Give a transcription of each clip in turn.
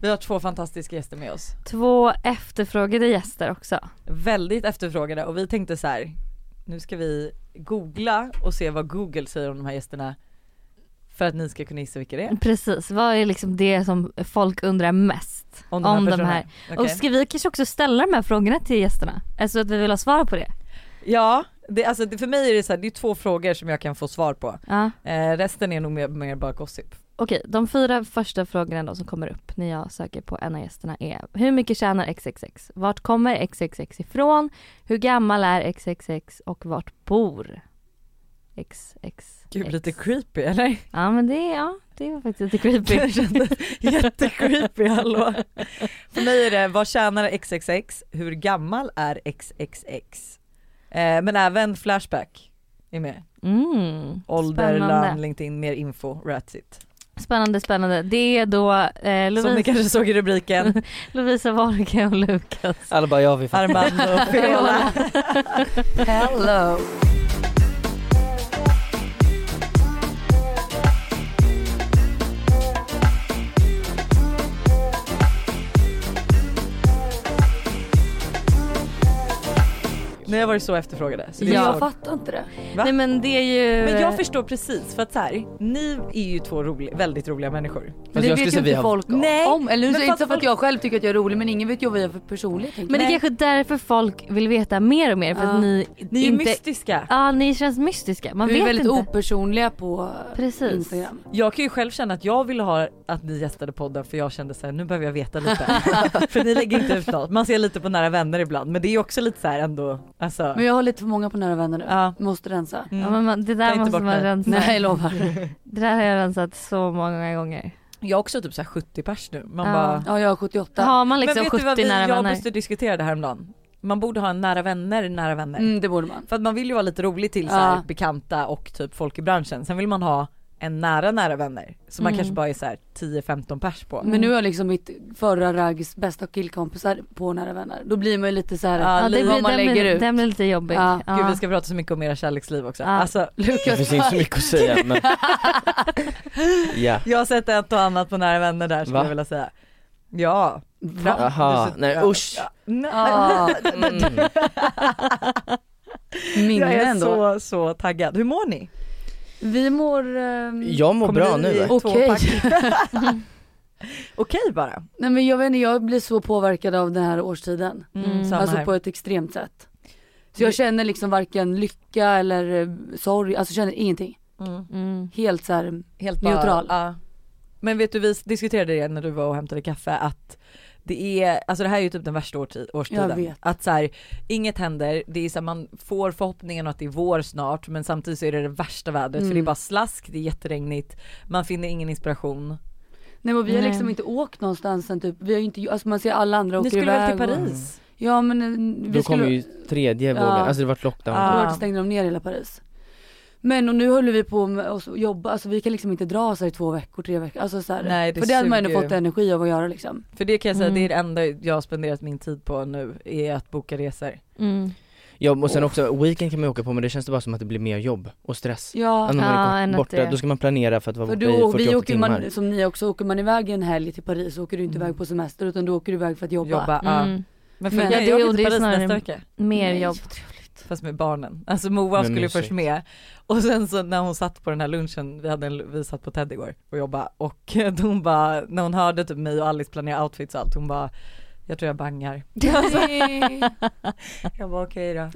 Vi har två fantastiska gäster med oss. Två efterfrågade gäster också. Väldigt efterfrågade och vi tänkte så här. nu ska vi googla och se vad Google säger om de här gästerna för att ni ska kunna gissa vilka det är. Precis, vad är liksom det som folk undrar mest om de här? personerna. Okej. Och ska vi kanske också ställa de här frågorna till gästerna? Alltså att vi vill ha svar på det. Ja, det, alltså, det, för mig är det så här, det är två frågor som jag kan få svar på. Ja. Eh, resten är nog mer, mer bara gossip. Okej, de fyra första frågorna då som kommer upp när jag söker på en av gästerna är Hur mycket tjänar XXX? Vart kommer XXX ifrån? Hur gammal är XXX? Och vart bor XXX? Gud lite creepy eller? Ja men det, ja, det var faktiskt lite creepy. Det kändes jättecreepy, hallå. För mig är det, vad tjänar XXX? Hur gammal är XXX? Eh, men även Flashback är med. Mm. Ålder, Spännande. namn, LinkedIn, mer info, that's it. Spännande, spännande. Det är då eh, Som ni Lovisa, kanske såg i rubriken, Lovisa Wahlgren och Lukas. Alla bara ja vi fattar. Armando och Feola. Hello. Ni har varit så efterfrågade. Så det är Ja. svårt. Jag fattar inte det. Va? Nej men det är ju... Men jag förstår precis för att så här, ni är ju två roliga, väldigt roliga människor. Men jag det skulle vet ju säga vi inte har- folk Nej, om. Eller men hur? Så inte fast för att jag själv tycker att jag är rolig men ingen vet ju vad vi är för personlighet. Men det är Nej. kanske därför folk vill veta mer och mer för Ja. att ni, Ni är ju inte... mystiska. Ja ni känns mystiska, man vi är vet väldigt inte. opersonliga på Precis. Instagram. Jag kan ju själv känna att jag ville ha att ni gästade podden för jag kände så här, nu behöver jag veta lite. för ni lägger inte ut något. Man ser lite på nära vänner ibland men det är ju också lite så här ändå, alltså. Men jag har lite för många på nära vänner nu. ja. Måste rensa. Mm. Ja, men man, det Ta där inte måste bort man mig. rensa. Nej jag lovar. Det där har jag rensat så många gånger. Jag är också typ så här 70 pers nu. Man Ja. bara, Ja jag har 78. Har man men liksom vet du vad 70 vi, nära jag och vänner? Buster diskuterade häromdagen? Man borde ha en nära vänner, nära vänner. Mm, det borde man. För att man vill ju vara lite rolig till så här, Ja. bekanta och typ folk i branschen. Sen vill man ha en nära nära vänner. Så man Mm. kanske bara är så här 10-15 pers på. Men nu har jag liksom mitt förra raggs bästa killkompisar på nära vänner. Då blir man ju lite så här. "Ah, Ja, Ja, det liv- blir, vad man den, blir, lägger ut. den blir lite jobbig. Ja. Ja. Gud vi ska prata så mycket om era kärleksliv också. Ja. Alltså Det finns inte så mycket att säga men. Ja. Jag har sett ett och annat på nära vänner där skulle Va? jag vilja säga. Ja. Va? Aha, Du ser- nej ja. usch. Ja. Nej. Ah, Mm. Jag minnen är ändå. så, så taggad. Hur mår ni? Vi mår... ehm, Jag mår Kommer bra ni nu. i Okej. tvåpack? Okej bara. Nej men jag vet inte, jag blir så påverkad av den här årstiden. Mm. samma alltså här. Mm. på ett extremt sätt. Så Det- jag känner liksom varken lycka eller eh, sorg, alltså känner ingenting. Mm. Mm. Helt så här, Helt Neutral. Ja. Men vet du, vi diskuterade det när du var och hämtade kaffe att det är, alltså det här är ju typ den värsta årtid, årstiden. Jag vet. Att så här, inget händer, det är så här, man får förhoppningen att det är vår snart men samtidigt så är det det värsta vädret för Mm. det är bara slask, det är jätteregnigt, man finner ingen inspiration. nej men vi har Nej. liksom inte åkt någonstans sen typ, vi har ju inte, alltså man ser alla andra åker Ni skulle väl till iväg och- Paris? Ja men eh, vi Då skulle, kom ju tredje vågen, Ja. alltså det vart lockdown. Ja. Ja. då stängde de ner hela Paris. Men och nu håller vi på med oss och jobba, alltså vi kan liksom inte dra så här i två veckor, tre veckor, alltså så här. Nej, det För det hade man suger ändå ju. fått energi av att göra liksom. För det kan jag säga, Mm. det är det enda jag har spenderat min tid på nu, är att boka resor. Mm. och sen också, weekend kan man ju åka på men det känns det bara som att det blir mer jobb och stress. Ja. Ja, när Ja, man än att är borta, det- då ska man planera för att vara För borta du, i och vi 48 åker timmar. man, som ni också, åker man iväg en helg till Paris så åker du inte Mm. iväg på semester utan då åker du iväg för att jobba. Jobba. Ja. Mm. Men för Men- jag, Ja, det- jag och åker det till är Paris snarare- nästa vecka. Mer Nej, jobb. vad trevligt. Fast med barnen. Alltså Moa Men skulle ju mysigt. först med och sen så när hon satt på den här lunchen, vi, hade en, vi satt på Ted igår och jobbade och hon bara, när hon hörde typ mig och Alice planera outfits och allt, hon bara jag tror jag bangar. Alltså. Jag bara okej då.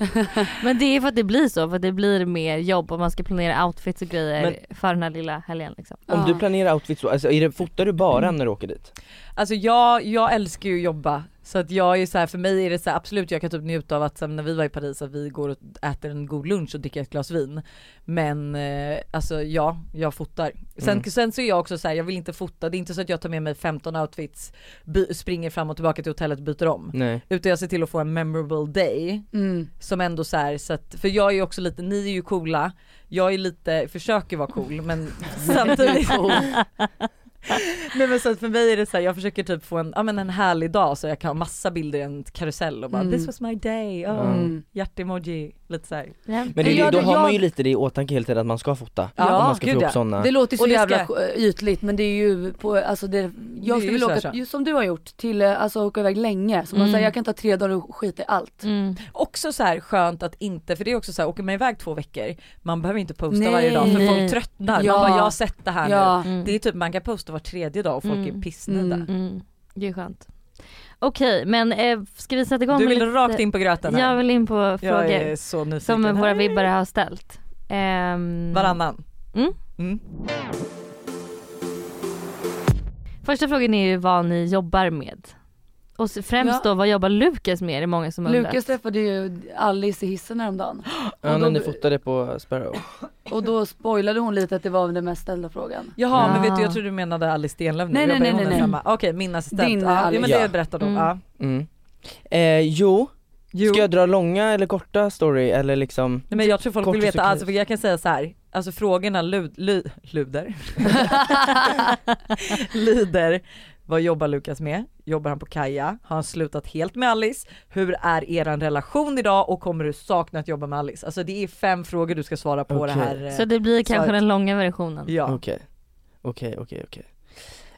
Men det är för att det blir så, för att det blir mer jobb och man ska planera outfits och grejer för den här lilla helgen liksom. Om du Ja. Mm. planerar outfits så, alltså är det, fotar du bara när du åker dit? Alltså jag, jag älskar ju att jobba så att jag är så här, för mig är det så här, absolut jag kan typ njuta av att sen när vi var i Paris att vi går och äter en god lunch och dricker ett glas vin. Men eh, alltså ja, jag fotar. Sen, Mm. sen så är jag också så här, jag vill inte fota, det är inte så att jag tar med mig 15 outfits, by, springer fram och tillbaka till hotellet och byter om. Nej. Utan jag ser till att få en memorable day Mm. som ändå så här, så att, för jag är ju också lite, ni är ju coola, jag är lite, försöker vara cool men samtidigt, Nej men så att för mig är det så här, jag försöker typ få en, ja, men en härlig dag så jag kan ha massa bilder i en karusell och bara Mm. this was my day, oh. Mm. hjärtemoji, lite såhär. Ja. Men det, är ju- Jag- då har man ju jag- lite det i åtanke hela tiden att man ska fota. Ja, Ja, man ska gud, få ja. upp sådana. Det låter ju så Och det jävla ska- eh, ytligt men det är ju på, alltså det, jag Det är skulle ju vilja så här åka, så. ju som du har gjort, till, eh, alltså åka iväg länge. Så man Mm. säger jag kan ta tre dagar och skita i allt. Mm. Också så här skönt att inte, för det är också så här, åker man iväg två veckor, man behöver inte posta Nej. varje dag för Nej. folk tröttnar. Ja. Man bara jag har sett det här nu. Ja. Mm. Det är typ man kan posta var tredje dag och folk Mm. är pissnödiga. Mm. Mm. Det är skönt. Okej men eh, ska vi sätta igång Du med vill lite- rakt in på gröten här. Jag vill in på frågor jag är så nyfiken. som våra här. vibbare har ställt. Ehm, Varannan. Mm. Mm. Första frågan är ju vad ni jobbar med. Och s- främst Ja. då vad jobbar Lukas med? Det är många som undrar. Mm. Lukas träffade ju Alice i hissen häromdagen. Ja, och när då- ni fotade på Sparrow. Och då spoilade hon lite att det var den mest ställda frågan. Jaha Ja. men vet du jag tror du menade Alice Stenlöf nu, Nej, jag nej, bara, nej, hon nej, är nej. samma. Okej min assistent, Din ja, jo, men Alice. det Ja. berättade hon. Mm. Ja. Mm. Eh, jo. Jo. ska jag dra långa eller korta story eller liksom? Nej, men jag tror folk Kort vill och veta, succinkt. alltså, för jag kan säga så här. alltså frågorna lud, lu, luder. Lider, vad jobbar Lukas med? Jobbar han på Kaja? Har han slutat helt med Alice? Hur är eran relation idag och kommer du sakna att jobba med Alice? Alltså det är fem frågor du ska svara på Okej. det här. eh, Så det blir Så- kanske den långa versionen. ja. Okej. Okej, okej, okej.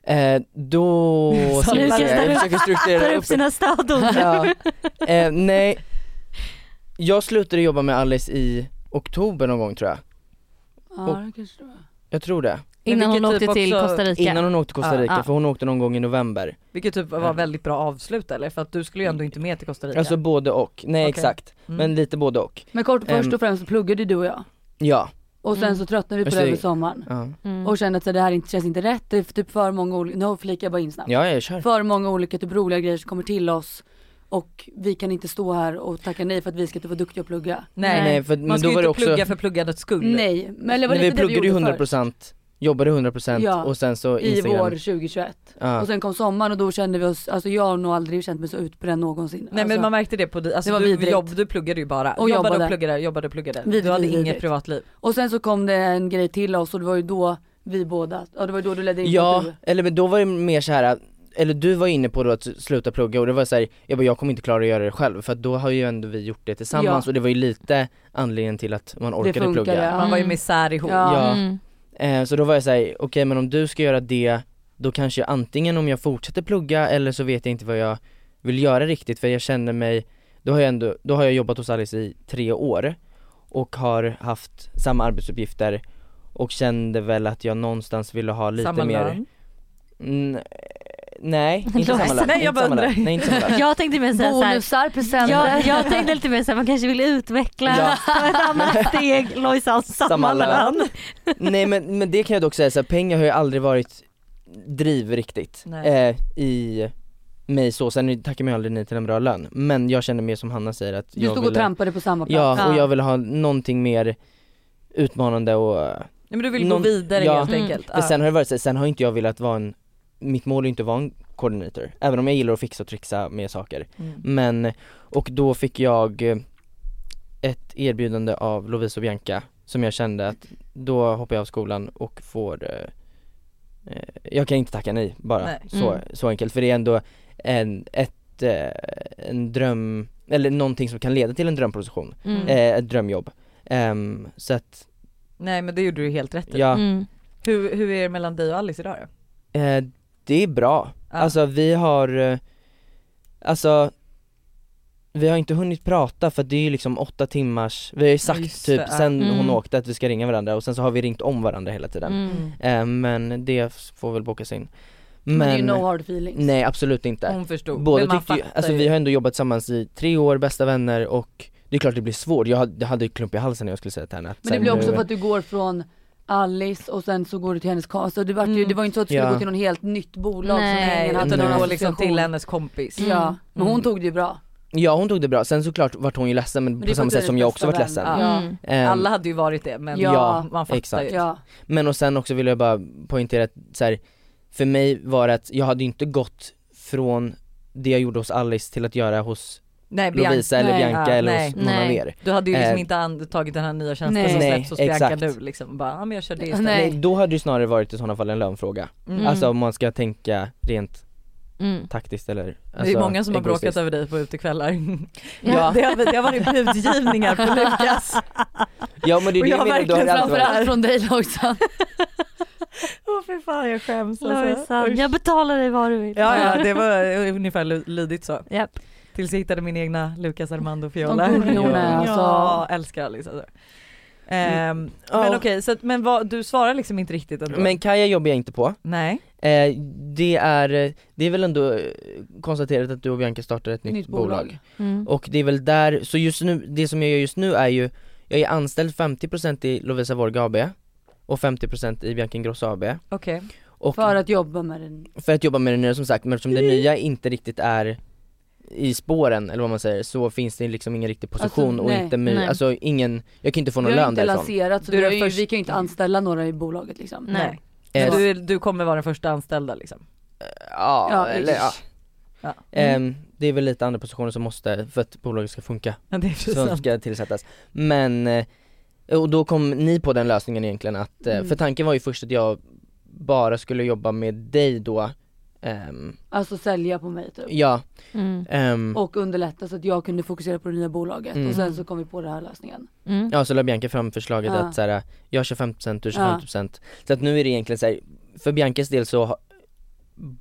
Eh, då ska vi Lukas se, tar jag upp- försöker strukturera Tar upp upp sina staudord. ja. eh, nej, jag slutade jobba med Alice i oktober någon gång tror jag. Ja, det kanske det var. Jag tror det. Men Innan hon vilket åkte typ till också- Costa Rica. Innan hon åkte till Costa Ja, Rica, ja. för hon åkte någon gång i november. Vilket typ var väldigt bra avslut eller? För att du skulle ju ändå inte med till Costa Rica. Mm. Mm. Alltså både och, nej Okej. exakt. Mm. Men lite både och. Men kort, först Ehm. och främst så pluggade du och jag. Ja. Och sen Mm. så tröttnade vi på Just det det. över sommaren. Ja, Mm. Och kände att så här, det här inte, känns inte rätt, det är typ för många olika, no flikar jag bara in snabbt. ja jag kör. För många olika typ roliga grejer som kommer till oss. Och vi kan inte stå här och tacka nej för att vi ska inte vara duktiga och plugga. nej, Nej för, man men ska då ju var inte det också, plugga för pluggandets skull. Nej, men det när var Mm. vi lite det vi pluggade ju gjorde 100% förr. jobbade 100% Ja. och sen så I Instagram. vår 2021. Ja. Och sen kom sommaren och då kände vi oss, alltså jag har nog aldrig känt mig så utbränd någonsin. Nej alltså, men man märkte det på dig, alltså, Det var du, vidrigt. jobb, du pluggade ju bara. Och jobbade och jobbade. pluggade, jobbade och pluggade. Vidrigt, du hade inget vidrigt. privatliv. Och sen så kom det en grej till oss och det var ju då vi båda, ja det var ju då du ledde in på Ja, att du. eller men då var det mer så här eller du var inne på då att sluta plugga och det var så här, jag bara jag kommer inte klara att göra det själv för att då har ju ändå vi gjort det tillsammans Ja. och det var ju lite anledningen till att man orkade funkade, plugga. ja. Man var ju Mm. med sär ihop. Ja. Ja. Mm. Eh, så då var jag såhär, okej men om du ska göra det, då kanske jag antingen om jag fortsätter plugga eller så vet jag inte vad jag vill göra riktigt för jag känner mig, då har jag ändå, då har jag jobbat hos Alice i tre år och har haft samma arbetsuppgifter och kände väl att jag någonstans ville ha lite Samma mer lön. Mm, eh, nej, inte Lås. samma lön. Nej, inte jag bara samma lön. undrar. Nej, inte samma lön. Jag tänkte mer säga såhär, Bonusar, presenter. jag, jag tänkte lite mer såhär, man kanske vill utveckla, Ja. ta ett annat steg, Lojsan samma Samma lön. lön. Nej men, men det kan jag dock säga så här, pengar har ju aldrig varit driv riktigt Nej. eh, i mig så, sen tackar mig aldrig nej till en bra lön. Men jag känner mer som Hanna säger att Du jag stod och ville- trampade på samma plats. Ja, och Ja. jag vill ha någonting mer utmanande och, eh, Nej, men du vill Någon- gå vidare ja. helt Mm. enkelt. för sen har det varit så här, sen har inte jag velat vara en, mitt mål är inte att vara en koordinator, även om jag gillar att fixa och trixa med saker. Mm. Men, och då fick jag eh, ett erbjudande av Lovisa och Bianca som jag kände att då hoppar jag av skolan och får eh, eh, Jag kan inte tacka nej bara, Nej. Så, Mm. så enkelt för det är ändå en, ett, eh, en dröm, eller någonting som kan leda till en drömposition, Mm. eh, ett drömjobb Ehm, Så att, Nej men det gjorde du ju helt rätt i. ja, Mm. Hur, hur är det mellan dig och Alice idag då? eh, det är bra Ja. Alltså vi har, eh, alltså vi har inte hunnit prata för att det är ju liksom åtta timmars, vi har ju sagt just typ det, ja. sen Mm. hon åkte att vi ska ringa varandra och sen så har vi ringt om varandra hela tiden. Mm. Eh, men det f- får väl bokas in. Men det är ju Mm. Men, no hard feelings. nej absolut inte. Hon förstod. Båda men man tyckte ju, fattar alltså ju. vi har ändå jobbat tillsammans i tre år, bästa vänner och det är klart det blir svårt, jag hade, jag hade ju klump i halsen när jag skulle säga till henne att Men det sen blir också nu- för att du går från Alice och sen så går du till hennes kamp. Alltså det, var ju, Mm. det var ju inte så att du skulle Ja. gå till någon helt nytt bolag som Nej, ingen Nej, hade utan någon hon Nej. går liksom association. till hennes kompis. Mm. Ja, men hon Mm. tog det ju bra. Ja hon tog det bra, sen såklart vart hon ju ledsen men, Men det på är samma för att sätt du är som jag hennes också varit bästa ledsen. vän. Ja. Mm. Ehm, Alla hade ju varit det men Ja, man fattar exakt. ju. Ja. Men och sen också vill jag bara poängtera att så här, för mig var det att jag hade ju inte gått från det jag gjorde hos Alice till att göra hos Nej, Bian- Lovisa eller Nej, Bianca ja, eller nej. Mm. hos någon av Nej. er. Du hade ju liksom Eh, inte an- tagit den här nya tjänsten Nej. som Nej, släpps hos Bianca exakt. nu liksom. Bara, ja men jag kör det istället. Nej. Nej. Då hade det ju snarare varit i sådana fall en lönfråga. Mm. Alltså om man ska tänka rent Mm. taktiskt eller alltså, det är många som har egoistiskt. bråkat över dig på utekvällar. Ja. Det, har, det har varit budgivningar på Lukas. Ja men det är Och jag det jag har menar, då har verkligen det alltid varit, framförallt- Framförallt från dig Lojsan. Åh oh, för fan jag skäms alltså. Lojsan, jag betalar dig vad du vill. Ja ja det var ungefär lu- lydigt så. Japp. Tills jag hittade min egna Lukas Armando Fiola. De gullorna, ja. alltså. ja Mm. älskar liksom. Ehm, Men Ja. okej, så att, men vad, du svarar liksom inte riktigt ändå? men Kaja jobbar jag inte på. Nej. Eh, det är, det är väl ändå eh, konstaterat att du och Bianca startar ett nytt, Nytt bolag. bolag. Mm. Och det är väl där, så just nu, det som jag gör just nu är ju, jag är anställd 50% i Lovisa Vorga AB och 50% i Bianca Ingrosso AB. Okej. Och För att Mm. jobba med den. för att jobba med det nya som sagt, men eftersom det nya inte riktigt är i spåren eller vad man säger så finns det liksom ingen riktig position Alltså, och nej, inte my- nej. alltså ingen, jag kan inte få någon vi har ju lön inte därifrån. lanserat så Du är vi, har den ju, första- vi kan ju inte anställa några i bolaget liksom. Nej. Nej. Eh, Men du, är- du kommer vara den första anställda liksom? Ja, Ja, Mm. eller ja. Ja. Ehm, det är väl lite andra positioner som måste, för att bolaget ska funka, Ja, det är Typ. för som sant. ska tillsättas. Men, eh, och då kom ni på den lösningen egentligen att, eh, Mm. för tanken var ju först att jag bara skulle jobba med dig då, Ehm, Alltså sälja på mig typ. ja, Mm. ehm, Och underlätta så att jag kunde fokusera på det nya bolaget Mm. och sen så kom vi på den här lösningen. Mm. Ja så la Bianca fram förslaget Ja. att så här, jag kör 50% du kör Ja. 50% Så att nu är det egentligen så här, för Biancas del så ha-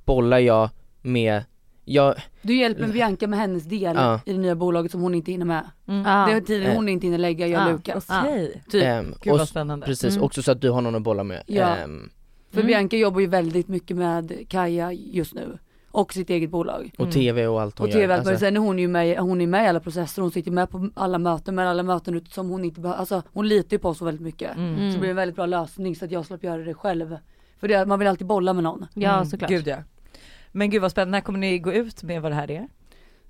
bollar jag med, jag, Du hjälper Bianca med hennes del Ja. i det nya bolaget som hon inte hinner med. Mm. Ja. Det är tiden Eh. hon inte hinner lägga, jag och Ja. Lukas. Okej, Typ. ehm, gud och, vad spännande. precis, Mm. också så att du har någon att bolla med Ja. ehm, För Mm. Bianca jobbar ju väldigt mycket med Kaja just nu. Och sitt eget bolag. och Mm. tv och allt hon Och tv gör alltså. sen är hon ju med, hon är med i alla processer, hon sitter med på alla möten men alla möten som hon inte behöver, alltså hon litar ju på oss så väldigt mycket. Mm. Så det blir en väldigt bra lösning så att jag slapp göra det själv. För det, man vill alltid bolla med någon. Ja Mm, såklart. Gud ja. Men gud vad spännande, när kommer ni gå ut med vad det här är?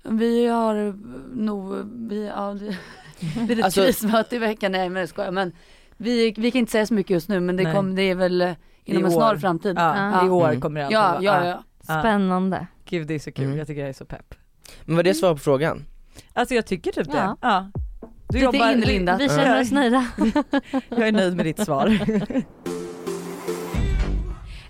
Vi har eh, nog, vi, ja, det det är ett Alltså- krismöte i veckan, nej men jag skojar men vi, vi kan inte säga så mycket just nu men det, Nej. kom, det är väl eh, inom I en snar år. framtid. Ja, Ah. Ja. I år Mm. kommer det Ja, alltså ja, vara. ja. Ah, Spännande. Gud det är så kul, Mm. jag tycker jag är så pepp. Men Mm. var det svar på frågan? Alltså jag tycker typ det. Ja. Ja. Du Lite inlindat. Vi känner oss nöjda. Jag är nöjd med ditt svar.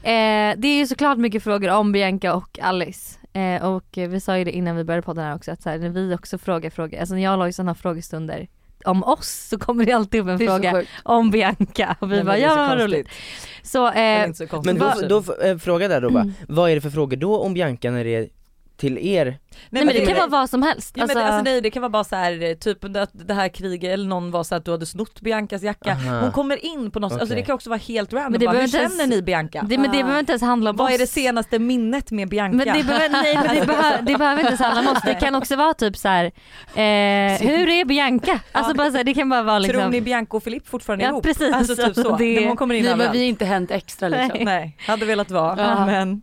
Eh, det är ju såklart mycket frågor om Bianca och Alice. Eh, och eh, vi sa ju det innan vi började podden här också att så här, när vi också frågar frågor, alltså när jag och Lojsan har frågestunder om oss så kommer det alltid upp en Det är så fråga sjukt. om Bianca och vi Nej, men bara det är ja så men vad konstigt. roligt. Så Det är eh, inte så konstigt. Men då, Nej, då f- eh, fråga där då bara, Mm. vad är det för frågor då om Bianca när det är till er? nej men det kan vara vad som helst. Ja, men Alltså, det, alltså nej det kan vara bara så här eh, typ att det här kriget eller någon var så att du hade snott Biancas jacka. Aha. Hon kommer in på något sätt, alltså det Ah. Okej. kan också vara helt random. Men det bara, hur behöver inte känner ens- ni Bianca? det, men det behöver inte ens handla om Vad oss. är det senaste minnet med Bianca? Men det, behöver, nej, men det, behöver, det behöver inte ens handla om oss. Det kan också vara typ så här. Eh, hur är Bianca? Alltså bara så här, det kan bara vara liksom. Tror ni Bianca och Filip fortfarande Ja, ihop? precis. Alltså typ så. Det- Det... Hon kommer in Nej men överallt. vi har inte hänt extra liksom. Nej. Nej, hade velat vara. Ja. Men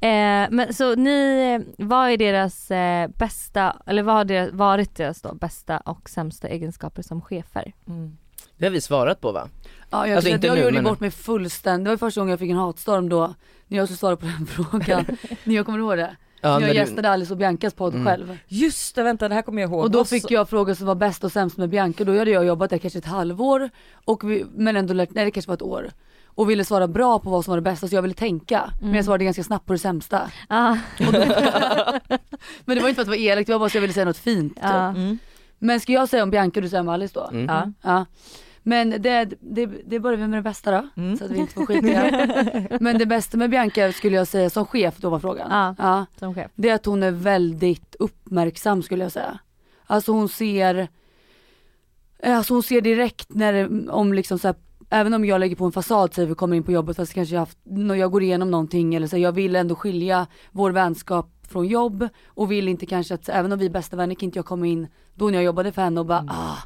Eh, men så ni, eh, vad är deras eh, bästa, eller vad har deras, varit deras då bästa och sämsta egenskaper som chefer? mm. Det har vi svarat på va? Ja, jag, Alltså, jag, inte jag nu, gjorde men- bort mig fullständigt. Det var första gången jag fick en hatstorm då när jag skulle svara på den frågan. När jag kommer ihåg det. Ja, när när jag du- gästade Alice och Biancas podd Mm. själv. just det, vänta det här kommer jag ihåg. Och då Vad fick så- jag frågor som var bäst och sämst med Bianca. Då hade jag jobbat där kanske ett halvår. Och vi, men ändå lärt, nej det kanske var ett år. Och ville svara bra på vad som var det bästa så jag ville tänka. Men Mm. jag svarade ganska snabbt på det sämsta. Ah, Men det var inte för att det var elakt, det var bara så jag ville säga något fint. typ. ja. Mm. Men ska jag säga om Bianca och du säger om Alice då? Mm. Ja. Ja. Men det, det, det börjar vi med det bästa då, Mm. så att vi inte får skit i det. Men det bästa med Bianca skulle jag säga som chef, då var frågan. Ja. Ja, som chef. det är att hon är väldigt uppmärksam skulle jag säga. Alltså hon ser, alltså hon ser direkt när, det- om liksom så här, även om jag lägger på en fasad säger vi kommer in på jobbet fast kanske jag haft, när jag går igenom någonting eller så här, jag vill ändå skilja vår vänskap från jobb och vill inte kanske att, även om vi är bästa vänner kan inte jag komma in då när jag jobbade för henne och bara ah,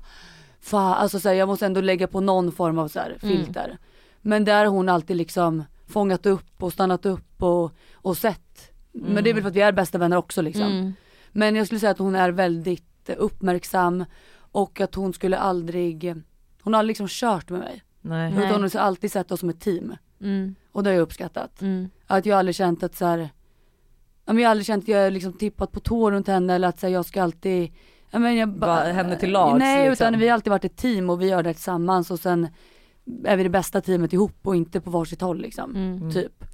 fan, alltså så här, jag måste ändå lägga på någon form av så här, filter. Men där har hon alltid liksom fångat upp och stannat upp och, och sett. Men det är väl för att vi är bästa vänner också liksom. Mm. Men jag skulle säga att hon är väldigt eh, uppmärksam och att hon skulle aldrig, hon har liksom kört med mig. Nej. Nej. Utan hon har alltid sett oss som ett team. Mm. Och det har jag uppskattat. Mm. Att jag aldrig känt att så här, ja, men jag har aldrig känt att jag har liksom tippat på tå runt henne eller att så här, jag ska alltid Ja, men jag ba- Vad händer till lags, Nej liksom? utan vi har alltid varit ett team och vi gör det här tillsammans och sen är vi det bästa teamet ihop och inte på varsitt håll liksom. Mm. Typ.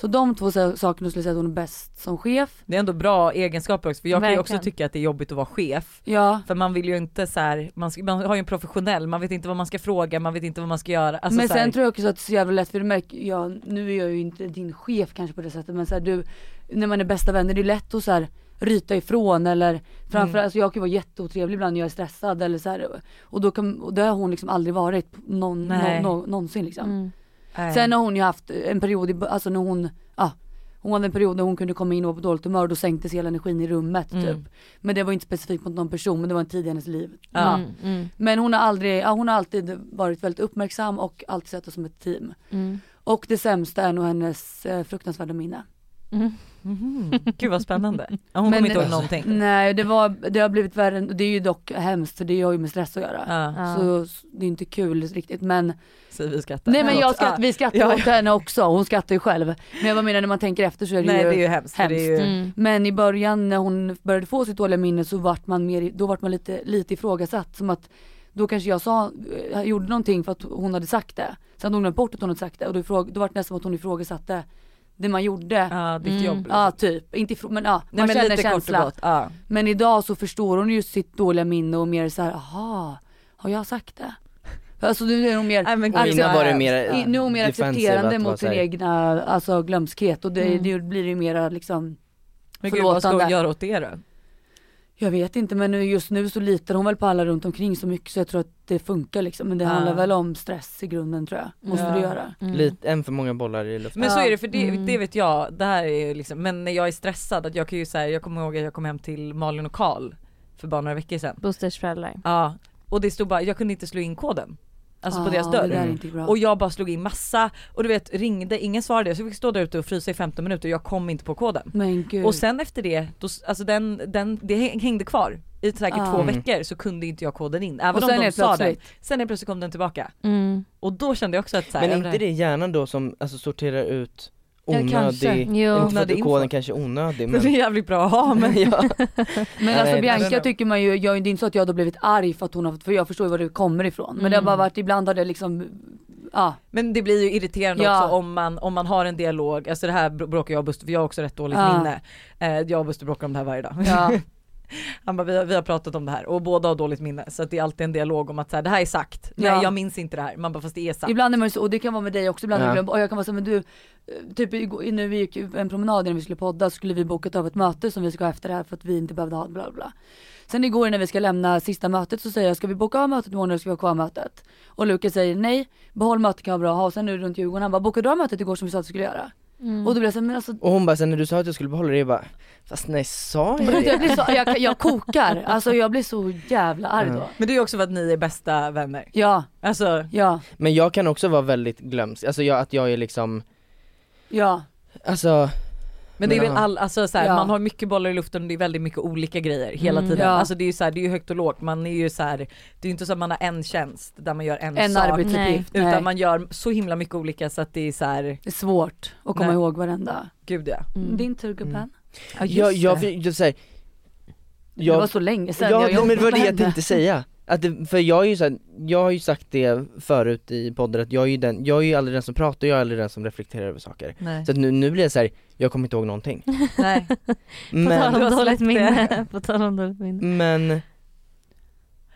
Så de två sa- sakerna skulle jag säga att hon är bäst som chef. Det är ändå bra egenskaper också för jag kan ju också Verkligen. tycka att det är jobbigt att vara chef. Ja. För man vill ju inte så här, man, ska- man har ju en professionell, man vet inte vad man ska fråga, man vet inte vad man ska göra. Alltså, men så här, sen tror jag också att det är så jävla lätt för du märker, ja, nu är jag ju inte din chef kanske på det sättet men så här, du, när man är bästa vänner det är lätt att så här, ryta ifrån eller framförallt, Mm. alltså jag kan ju vara jätteotrevlig ibland när jag är stressad eller så här, och då kan, och det har hon liksom aldrig varit någon, Nej. någon, någon, någonsin liksom. Mm. nej. Sen har hon ju haft en period, i, bö- alltså när hon, ja, hon hade en period när hon kunde komma in och vara på dåligt humör och då sänktes hela energin i rummet Mm. typ. Men det var ju inte specifikt mot någon person men det var en tid i hennes liv. Ja. Mm. Mm. Men hon har aldrig, ja, hon har alltid varit väldigt uppmärksam och alltid sett oss som ett team. Mm. Och det sämsta är nog hennes eh, fruktansvärda minne. Mm. Mhm. Gud vad spännande. Ja, Hon Men- kommer inte ihåg någonting. Nej det var, det har blivit värre, än- det är ju dock hemskt för det har ju med stress att göra. Ja, Ja. Så s- det är inte kul riktigt men säger vi och skrattar. Nej men jag Förlåt. skratt, vi skrattar Ja, åt henne också, hon skrattar ju själv. Men jag bara menar när man tänker efter så är Ja. det Ah, Nej ju det är ju hemskt. för Det är ju, Mm. Men i början när hon började få sitt dåliga minne så vart man mer, då vart man lite, lite ifrågasatt som att då kanske jag sa, jag gjorde någonting för att hon hade sagt det. Sen hade hon glömt bort att hon hade sagt det och då, ifråg, då vart det nästan som att hon ifrågasatte det man gjorde. Ja, Ja ditt Mm. jobb. liksom. typ, inte ifrå, men ja, Nej man men känner lite kort och känsla. Mm. gott. Ja. Men idag så förstår hon ju sitt dåliga minne och mer så här, aha, har jag sagt det? Alltså nu är hon mer, Nej, men eh, Och gud, Axel- innan vad var det hemskt. mer Ja. Alltså, i- nu är hon mer defensive, att accepterande vara mot så sin här- egna alltså, glömskhet och det, Mm. det blir ju mera liksom Men gud vad ska hon förlåtande. göra åt det då? Jag vet inte men nu- just nu så litar hon väl på alla runt omkring så mycket så jag tror att det funkar liksom. Men det Ja. handlar väl om stress i grunden tror jag. Måste Ja. det göra. Mm. Lite, en för många bollar i luften. Men så Ja. är det för det, Mm. det vet jag, det här är ju liksom, men när jag är stressad att jag kan ju säga, jag kommer ihåg att jag kom hem till Malin och Karl för bara några veckor sedan. Bosters föräldrar. Ja, och det stod bara, jag kunde inte slå in koden. Alltså på Ah, deras dörr. Det där är inte bra. Och jag bara slog in massa och du vet ringde, ingen svarade så jag fick stå där ute och frysa i 15 minuter och jag kom inte på koden. men gud. Och sen efter det, då, s- alltså den, den, det häng- hängde kvar i säkert Ah. två Mm. veckor så kunde inte jag koden in. Även Och om sen de helt sa den. plötsligt. Sen helt plötsligt kom den tillbaka. Mm. Och då kände jag också att så här, Men är jag- inte det hjärnan då som alltså, sorterar ut Ja, kanske. onödig, Jo. inte för Onödig att koden info. kanske är onödig Men men det är jävligt bra att Mm. ha men ja. Men Nej, alltså nej, nej, nej. Bianca tycker man ju, jag, det är inte så att jag har blivit arg för att hon har fått, för jag förstår ju var det kommer ifrån. Men det har Mm. bara varit, ibland har det liksom, ja. Men det blir ju irriterande Ja. också om man, om man har en dialog, alltså det här br- bråkar jag och Buster, för jag har också rätt dåligt Ja. minne. Eh, jag och Buster bråkar om det här varje dag. Ah. ja. Han bara, vi har, vi har pratat om det här och båda har dåligt minne så att det är alltid en dialog om att så här, det här är sagt, nej Ja. jag minns inte det här. Man bara fast det är sagt. ibland är man ju så, och det kan vara med dig också, ibland Ja. ja. och jag kan vara så här, men du, eh, typ igår- nu vi gick en promenad innan vi skulle podda så skulle vi bokat av ett möte som vi ska ha efter det här för att vi inte behövde ha bla bla, bla. Sen igår när vi ska lämna sista mötet så säger jag, ska vi boka av mötet imorgon eller ska vi ha kvar mötet? Och Lukas säger nej, behåll mötet kan vara bra att ha och sen nu runt Djurgården, han bara, bokade du av mötet igår som vi sa att vi skulle göra? Mm. Och då blir jag såhär, men alltså Och hon bara sen när du sa att jag skulle behålla det, jag bara fast nej sa jag jag, det? blir så, jag, jag kokar, alltså jag blir så jävla arg då. Ja. Men det är ju också för att ni är bästa vänner. Ja, Alltså ja, Men jag kan också vara väldigt glömsk, alltså jag, att jag är liksom, ja. alltså Men det är Men, väl ja. all, alltså så här, Ja. man har mycket bollar i luften och det är väldigt mycket olika grejer hela Mm. tiden. Ja. Alltså det är ju så här, det är ju högt och lågt, man är ju så här, det är ju inte så att man har en tjänst där man gör en, En sak. arbetsuppgift, Utan nej. man gör så himla mycket olika så att det är så här, Det är svårt att komma Nej. ihåg varenda. gud ja. Mm. Din tur gubben. Mm. ja jag, jag, jag, jag, så här, jag det var så länge sedan ja, men det var det jobbade med jag henne. tänkte säga. Att det, för jag är ju så här, jag har ju sagt det förut i podden att jag är ju den, jag är ju aldrig den som pratar, jag är aldrig den som reflekterar över saker. Nej. Så att nu, nu blir jag så här, jag kommer inte ihåg någonting. Nej. På Men, tal Du om har släppt dåligt det. minne. På tal om dåligt minne. men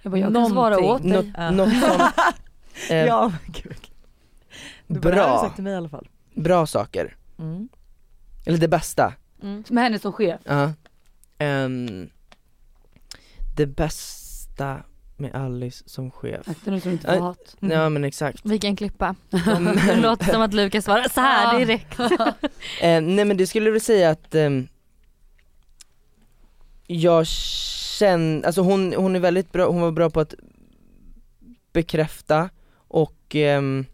Jag bara, jag kan svara Någonting. åt dig. något, Ja. något som, eh, ja men gud. Du bara, det här har du bra, sagt till mig i alla fall. bra saker. Mm. Eller det bästa. Mm. Med henne som chef. Ja. Ehm, det bästa med Alice som chef. Akta nu så du inte Aj. får hat. Ja men exakt. Vi kan klippa. Det låter som att Lukas svarar så här Ja. direkt. Eh, nej men det skulle jag väl säga att ehm, jag känner, alltså hon, hon är väldigt bra, hon var bra på att bekräfta och ehm,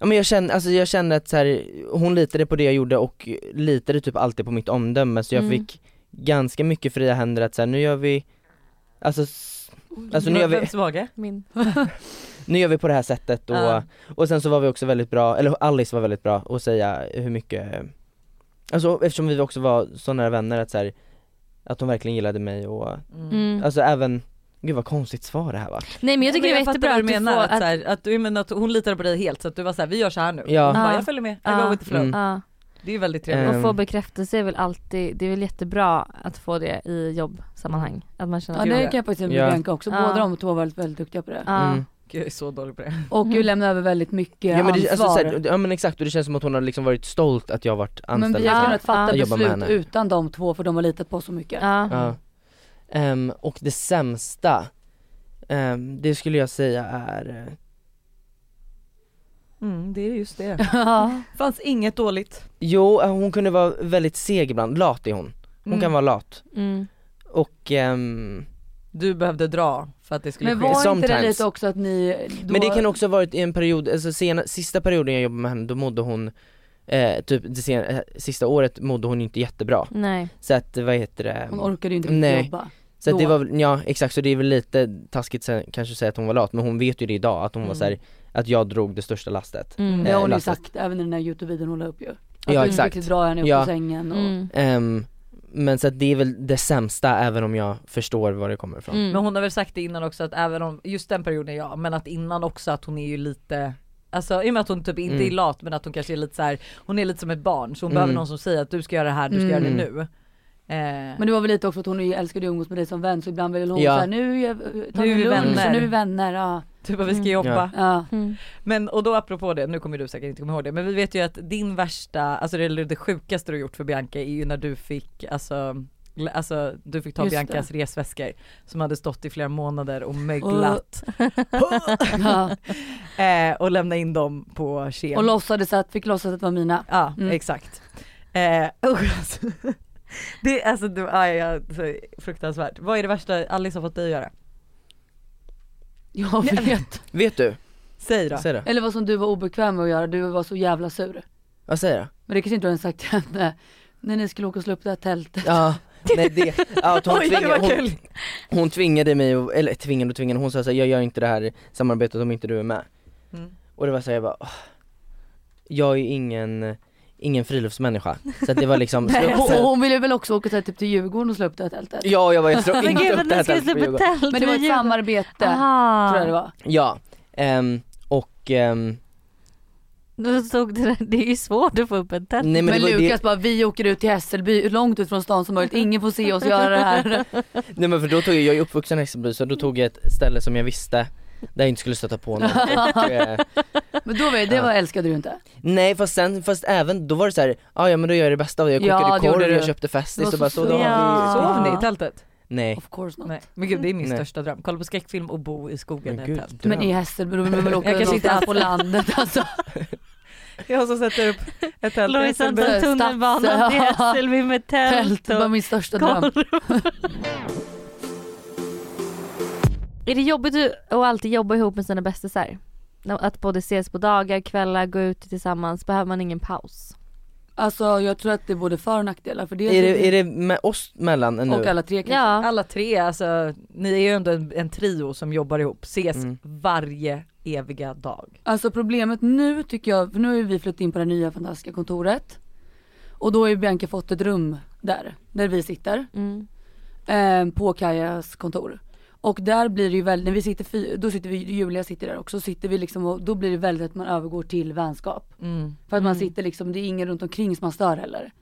Ja men jag känner, alltså jag kände att så här, hon litade på det jag gjorde och litade typ alltid på mitt omdöme så jag Mm. fick ganska mycket fria händer att så här, nu gör vi, alltså, s- alltså nu gör vi, Vems mage? Min. nu gör vi på det här sättet och, Ja. och sen så var vi också väldigt bra, eller Alice var väldigt bra att säga hur mycket Alltså eftersom vi också var så nära vänner att så här, Att hon verkligen gillade mig och, Mm. Mm. alltså även, gud vad konstigt svar det här var Nej men jag tycker det var fattar jättebra vad att du du menar, får att, så här, att, du, men att hon litade på dig helt så att du var såhär, vi gör så här nu. Ja. Hon bara, Ja. jag följer med, I Ja. go with the flow. Mm. Ja. Det är ju väldigt trevligt. Eh. Och få bekräftelse är väl alltid, det är väl jättebra att få det i jobbsammanhang. Att man känner Ja att Gud, det ja. kan jag faktiskt säga Ja. med Bianca också, Ja. båda de två var väldigt, väldigt duktiga på det. ja. Mm. Gud, jag är så dålig på det. Och Mm. ju lämnade över väldigt mycket Ja men, det, ansvar. alltså, så här, ja men exakt, och det känns som att hon har liksom varit stolt att jag har varit men anställd vi hade liksom. kunnat Jag fatta jobbar med beslut henne. utan de två för de har litat på oss så mycket. Ja. Ja. Ehm, och det sämsta, ehm, det skulle jag säga är, eh, Mm, det är just det. Ja. Fanns inget dåligt. jo eh, hon kunde vara väldigt seg ibland, lat är hon. Hon Mm. kan vara lat. Mm. Och ehm, Du behövde dra för att det skulle Men ske. var inte det Sometimes. lite också att ni då... Men det kan också ha varit i en period, alltså sena, sista perioden jag jobbade med henne, då mådde hon Eh, typ det sen, eh, sista året mådde hon inte jättebra. Nej. Så att vad heter det? Hon orkade ju inte riktigt Nej. jobba. Så att det då. var väl- ja exakt så det är väl lite taskigt sen, kanske att säga att hon var lat men hon vet ju det idag att hon var Mm. såhär, att jag drog det största lastet. Mm. Det har hon ju lasset. sagt även i den där Youtube-videon hon la upp ju. Att Ja, du inte exakt. riktigt drar henne upp Ja. ur sängen och... Mm. Ehm, men så att det är väl det sämsta även om jag förstår var det kommer ifrån. Mm. Men hon har väl sagt det innan också att även om, just den perioden ja, men att innan också att hon är ju lite Alltså i och med att hon typ inte Mm. är lat men att hon kanske är lite så här, hon är lite som ett barn så hon Mm. behöver någon som säger att du ska göra det här, du ska Mm. göra det nu. Eh, Men det var väl lite också att hon älskade att umgås med dig som vän så ibland ville hon Ja. såhär, nu är jag- tar Nu är vi vi lunch vänner. och nu är vi vänner. Ja. typ att vi ska Mm. jobba. Ja. Ja. Mm. Men och då apropå det, nu kommer du säkert inte komma ihåg det, men vi vet ju att din värsta, alltså det, eller det sjukaste du gjort för Bianca är ju när du fick, alltså, l- alltså du fick ta Just Biancas resväskor som hade stått i flera månader och möglat Ja. eh, och lämna in dem på kem. Och låtsades att, fick låtsas att det var mina. Ja Mm. exakt. Eh, usch, alltså. Det är alltså, det, aj, ja, så fruktansvärt. Vad är det värsta Alice har fått dig att göra? Jag vet. Vet du? Säg då. Säg det. Eller vad som du var obekväm med att göra, du var så jävla sur. Vad säger jag? Men det kanske inte du har sagt till henne. När ni skulle åka och slå upp det här tältet. Ja, nej det, ja, att hon, Oj det tvingade, var hon, kul. hon tvingade mig, och- eller tvingade och tvingade, hon sa såhär jag gör inte det här samarbetet om inte du är med. Mm. Och det var såhär jag bara, åh. jag är ju ingen, ingen friluftsmänniska. Så att det var liksom, slå upp Hon, det. hon ville väl också åka så här, typ till Djurgården och slå upp det här tältet. Ja jag bara jag slår Men inte gud upp det här ni skulle tältet på släppa Djurgården. tält Men det var ett vid jul. samarbete, Aha. tror jag det var. Ja, ehm, och ehm, Då stod det där, det är ju svårt att få upp ett tält. nej men, Men, det var ju Lukas det, bara, vi åker ut till Hässelby, långt ut från stan som möjligt, ingen får se oss göra det här. nej men för då tog jag, jag är uppvuxen i Hässelby så då tog jag ett ställe som jag visste där jag inte skulle stöta på någon och, eh, Men då var det, det var, älskade du inte. Nej fast sen, fast även, då var det såhär, ja ja men då gör jag det bästa av det, jag Ja, kokade det gjorde korv, du. jag köpte Det festis var och bara så så då har vi Ja. Sov ni i tältet? Nej Of course not. Nej. Men gud det är min Nej. största dröm, kolla på skräckfilm och bo i skogen i men ett gud, tält. Men i Hässelby, då vill man väl åka Jag kanske inte någonstans på landet alltså. Jag som sätter upp ett tält. Lojsan Hässelby. tar tunnelbanan till Stadsö. Hässelby med Tält, tält det var och min största dröm. korv. Är det jobbigt att att alltid jobba ihop med sina bästisar? Att både ses på dagar, kvällar, gå ut tillsammans, behöver man ingen paus? Alltså jag tror att det är både för och nackdelar för dels Är det, är det med oss mellan nu? och alla tre kanske. Ja. Alla tre, alltså ni är ju ändå en, en trio som jobbar ihop, ses Mm. varje eviga dag. Alltså problemet nu tycker jag, för nu har ju vi flyttat in på det nya fantastiska kontoret. Och då har ju Bianca fått ett rum där, där vi sitter. Mm. eh, på Kajas kontor. Och där blir det ju väldigt, när vi sitter, fy- då sitter vi, Julia sitter där också, sitter vi liksom och då blir det väldigt att man övergår till vänskap. För att man Mm. sitter liksom, det är ingen runt omkring som man stör heller.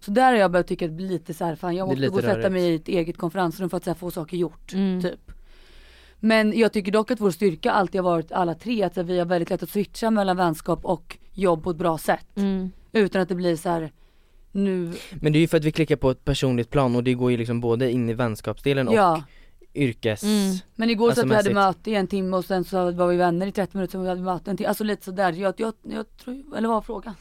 Så där har jag börjat tycka att det blir lite så här, fan Det är jag måste lite gå och sätta rörigt. mig i ett eget konferensrum för att så här, få saker gjort. Mm. Typ. Men jag tycker dock att vår styrka alltid har varit alla tre, att så här, vi har väldigt lätt att switcha mellan vänskap och jobb på ett bra sätt. Mm. Utan att det blir så här, nu, Men det är ju för att vi klickar på ett personligt plan och det går ju liksom både in i vänskapsdelen och ja. yrkes... Mm. Men igår Alltså så att vi hade mässigt. möte i en timme och sen så var vi vänner i 30 minuter och vi hade möte en timme. Alltså lite sådär. Jag, jag, jag tror, eller vad var frågan?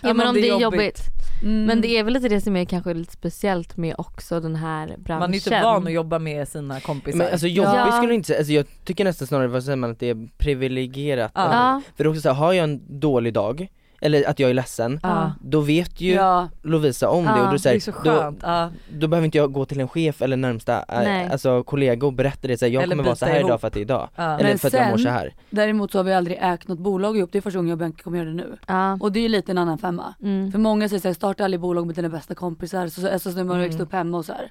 Ja men om det är jobbigt. Mm. Men det är väl lite det som är kanske lite speciellt med också den här branschen. Man är ju inte van att jobba med sina kompisar. Men alltså jobbigt Ja. skulle jag inte säga, alltså, jag tycker nästan snarare vad säger man, att det är privilegierat. Ja. Eller- Ja. För det är också så här, har jag en dålig dag eller att jag är ledsen, Ja. då vet ju Ja, Lovisa om det och Ja, då, Det är säger så då, skönt. Ja. då behöver inte jag gå till en chef eller närmsta eh, Nej. alltså, kollega och berätta det, så här, jag Eller kommer vara bita så här ihop. idag för att det är idag. Ja. Eller Men för att jag mår sen- så här. däremot så har vi aldrig ägt något bolag ihop, det är första gången jag och Bianca kommer göra det nu. Ja. Och det är ju lite en annan femma. Mm. För många säger såhär, starta aldrig bolag med dina bästa kompisar, så, så, alltså, så när man Mm. växte upp hemma och såhär.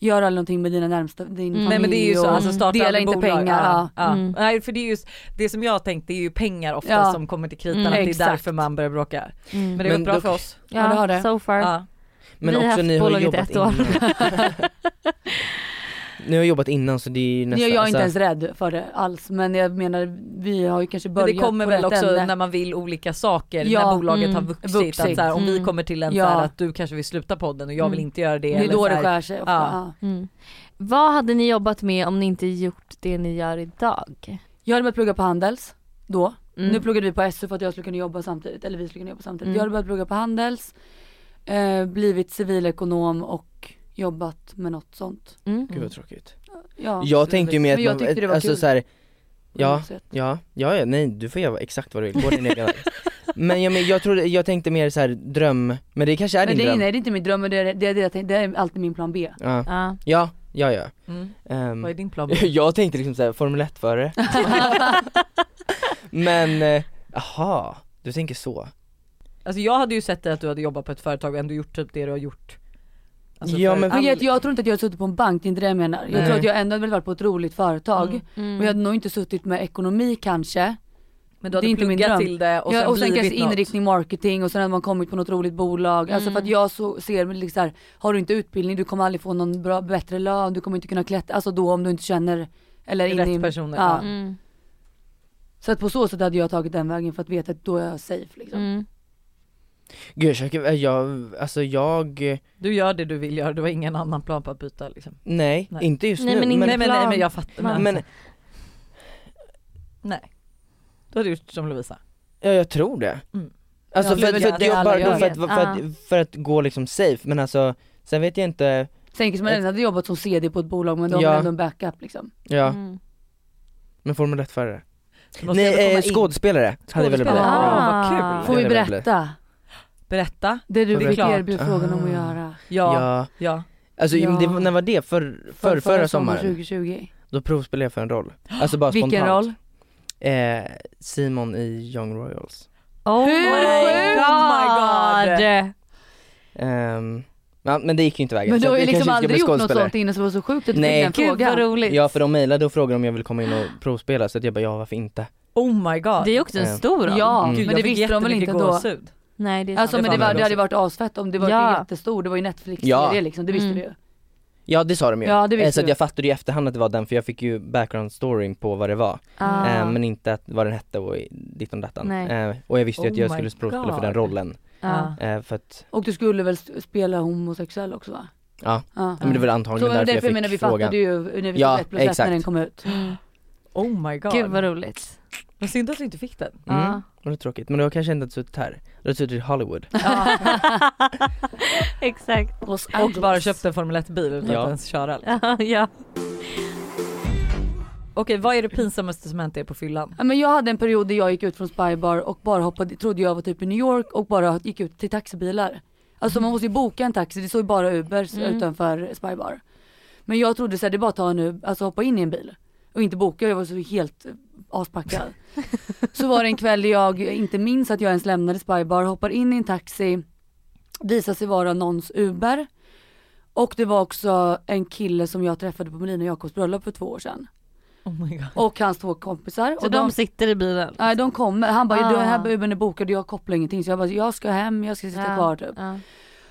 Gör aldrig någonting med dina närmsta, din Mm. familj Nej men det är ju så, och alltså starta dela aldrig inte bolag. pengar. Ja, Ja. ja. Mm. Nej för det är just, det som jag tänkte är ju pengar ofta Ja. som kommer till kritan, Mm. att det är Exakt. därför man börjar bråka. Mm. Men det har Men gått bra då- för oss. ja, Ja, det har det. So far. Ja. Men Vi har också haft ni har ju bolaget jobbat ett år. innan. ni har jobbat innan så det är ju Nu är nästan, Mm. jag inte ens alltså, rädd för det alls men jag menar vi har ju kanske Men börjat det kommer på väl rätt också ände. när man vill olika saker, Ja, när bolaget mm, har vuxit. Att vuxit. så här, om vi Mm. kommer till en Ja. så här, att du kanske vill sluta podden och jag vill Mm. inte göra det. Det är eller då så det här, skär sig ofta. ja. Ja. Mm. Vad hade ni jobbat med om ni inte gjort det ni gör idag? Jag hade börjat plugga på Handels då. Mm. Nu pluggade vi på SU för att jag skulle kunna jobba samtidigt, eller vi skulle kunna jobba samtidigt. Mm. Jag hade börjat plugga på Handels, eh, blivit civilekonom och jobbat med något sånt. Mm. gud vad tråkigt. Ja. Jag tänkte ju mer Men jag att man, tyckte det var alltså kul. Mm. så här, ja, Så att- Ja, ja, ja, nej du får göra exakt vad du vill, gå din egen väg. Men jag, men jag, trodde, jag tänkte mer så här dröm, men det kanske är din Men det är, dröm? nej, det är inte min dröm, men det är, det, är det, jag tänkte, det är alltid min plan B. Ja, Ja. ja, ja, ja. Mm. Ehm, Vad är din plan? jag tänkte liksom såhär, Formel 1 förare Men, eh, aha, du tänker så? Alltså jag hade ju sett dig att du hade jobbat på ett företag och ändå gjort typ det du har gjort. Alltså, Ja, men- Men all- jag, jag tror inte att jag har suttit på en bank, det är inte det jag menar. Jag Nej. tror att jag ändå hade väl varit på ett roligt företag. Mm. Mm. Och jag hade nog inte suttit med ekonomi kanske. men du det är hade inte min pluggat dröm. till det och Och sen, sen, och sen kanske blivit något. inriktning marketing och sen hade man kommit på något roligt bolag. Alltså Mm. för att jag så ser liksom så här, har du inte utbildning du kommer aldrig få någon bra, bättre lön, du kommer inte kunna klättra, alltså då om du inte känner eller in i, Rätt personer. Ja. Mm. Så att på så sätt hade jag tagit den vägen för att veta att då är jag safe liksom. Mm. Gud jag, försöker- jag, alltså jag, Du gör det du vill göra, du har ingen annan plan på att byta liksom. nej, Nej. inte just Nej, nu men inte- Nej men, nej plan. men jag fattar. Men, men, nej. Du hade gjort som Lovisa. ja jag tror det Mm. Alltså Ja, för, men för, det- att det jag alla bara, gör. Ah. för, att, för, att, för att gå liksom safe, men alltså, sen vet jag inte, Sen kanske man ändå hade jobbat som CD på ett bolag men då Ja. har man ändå en backup liksom. ja, Mm. men Formel 1 förare Du måste ändå komma Nej, eh, in. skådespelare, hade jag velat bli. Skådespelare. Ja. Ah, vad Får kul. det vi är det väl berätta? Berätta. Det du Det är fick klart. erbjud frågan om Ah. att göra. Ja, ja. ja. Alltså Ja. det, var- när var det? För, för, förra, sommaren? 2020. Då provspelade jag för en roll, alltså bara Vilken spontant roll? Eh, Simon i Young Royals Oh Hur sjukt? my god! Ehm, ja, Men det gick ju inte vägen Men så du har det ju kanske liksom inte ska aldrig bli gjort något skådespelare. sånt innan så det var så sjukt att du Nej. fick den Gud vad frågan. roligt! Ja för de mejlade och frågade om jag ville komma in och provspela så att jag bara ja varför inte? Oh my god. Det är också en Eh. stor roll. Ja, Mm. Gud, men det jag fick visste de väl jättemycket inte då? gåshud. Nej det är Alltså sant. men det, fan var, hade det hade jag varit asfett om det var Ja. ja. jättestor, det var ju Netflix-serie Ja. liksom, det visste Mm. vi ju. Ja det sa de ju, Ja det eh, visste så att vi. jag fattade ju i efterhand att det var den för jag fick ju background storyn på vad det var Ah. eh, Men inte att, vad den hette och i- ditt och dattan Nej. eh, Och jag visste ju att Oh jag my skulle provspela för God. den rollen Ja. eh, för att, Och du skulle väl s- spela homosexuell också va? Ja. ja. men det var Ah. Så antagligen men därför därför jag jag menar vi fick fattade frågan ju när vi Ja, såg ett plus ett exakt. när den kom ut. Mm. Oh my god. Gud vad roligt. Men synd att du inte fick den. Mm. Ja. Och det är tråkigt, men du har kanske inte suttit här, du har suttit i Hollywood Exakt. Och bara köpte en Formel 1 bil utan Ja. att ens köra. Okej Ja, ja. vad är det pinsammaste som hänt er på fyllan? Ja, men jag hade en period där jag gick ut från Spybar och bara hoppade, trodde jag var typ i New York och bara gick ut till taxibilar. Alltså man måste ju boka en taxi, det såg ju bara Ubers Mm. utanför Spybar. Men jag trodde såhär, det är bara att ta en Uber, alltså hoppa in i en bil och inte boka, jag var så helt eh, aspackad. så var det en kväll där jag inte minns att jag ens lämnade Spybar, hoppar in i en taxi, visar sig vara någons Uber. Och det var också en kille som jag träffade på Melina Jakobs bröllop för två år sedan. Oh my god. Och hans två kompisar. Så och de sitter i bilen? Nej de kommer, han bara Ah. ah. den här Ubern är bokad och jag kopplar ingenting så jag bara jag ska hem, jag ska sitta Ja, kvar typ. ja.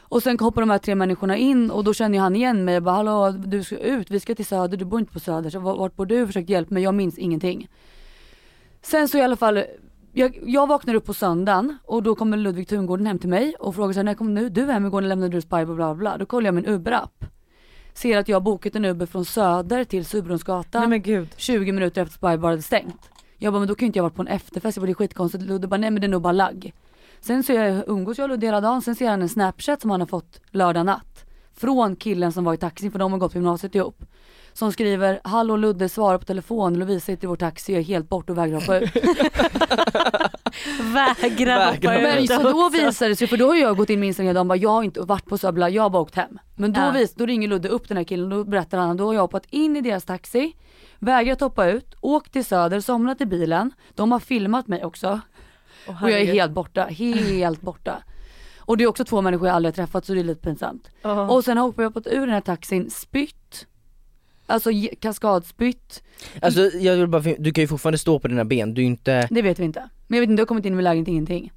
Och sen hoppar de här tre människorna in och då känner ju han igen mig jag bara hallå du ska ut, vi ska till söder, du bor inte på söder så vart bor du? Försökt hjälpa mig, jag minns ingenting. Sen så i alla fall, jag, jag vaknar upp på söndagen och då kommer Ludvig Tungården hem till mig och frågar så här, när kom nu du hem igår, när lämnade du Spy bla bla bla. Då kollar jag min Uber-app. Ser att jag har bokat en Uber från söder till Surbrunnsgatan. Nej men gud. 20 minuter efter Spy Bar hade stängt. Jag bara, men då kan ju inte jag ha varit på en efterfest, jag bara, det är skitkonstigt. Ludde bara, nej men det är nog bara lagg. Sen så jag, umgås jag och Ludde hela dagen, sen ser han en snapchat som han har fått lördag natt. Från killen som var i taxin, för de har gått på gymnasiet ihop. som skriver Hallå Ludde svara på telefon, Lovisa sitter i vår taxi, jag är helt bort och vägrar hoppa ut. Vägrar hoppa Vägrar. ut Alltså. Men så då också. visar det sig, för då har jag gått in med Instagram och bara jag har inte varit på Söbla, jag har bara åkt hem. Men då, Ja. vis, då ringer Ludde upp den här killen och då berättar han då har jag hoppat in i deras taxi, vägrat hoppa ut, åkt till Söder, somnat i bilen. De har filmat mig också Åh, och jag är herregud. helt borta, helt borta. Och det är också två människor jag aldrig har träffat så det är lite pinsamt. Åh. Och sen har jag hoppat ur den här taxin, spytt, alltså ge- kaskadspytt, Alltså jag vill bara, du kan ju fortfarande stå på dina ben, du är ju inte det vet vi inte. Men jag vet inte, jag har kommit in i lägenhet ingenting.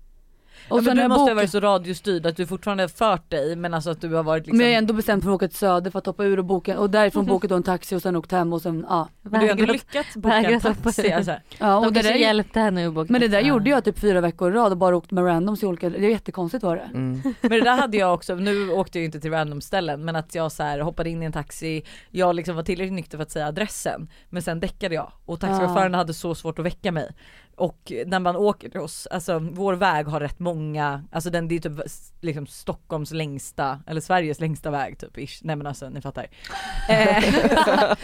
Och ja, sen men har du jag måste ha bokat- varit så radiostyrd att du fortfarande har fört dig men alltså att du har varit liksom Men jag är ändå bestämt för att åka till Söder för att hoppa ur och boka och därifrån boka då en taxi och sen åkt hem och sen ja. Men du har ändå Vägrat- lyckats boka en vägrat hoppa taxi ut. alltså. ja och De det kanske där, hjälpte henne ur boken. men det där gjorde jag typ fyra veckor i rad och bara åkt med randoms i olika, det var jättekonstigt var det. mm. Men det där hade jag också, nu åkte jag ju inte till random ställen men att jag så här hoppade in i en taxi, jag liksom var tillräckligt nykter för att säga adressen men sen däckade jag och taxichauffören hade så svårt att väcka mig. Och när man åker till oss, alltså vår väg har rätt många, alltså den det är typ s- liksom Stockholms längsta, eller Sveriges längsta väg typ ish. Nej men alltså ni fattar. Eh,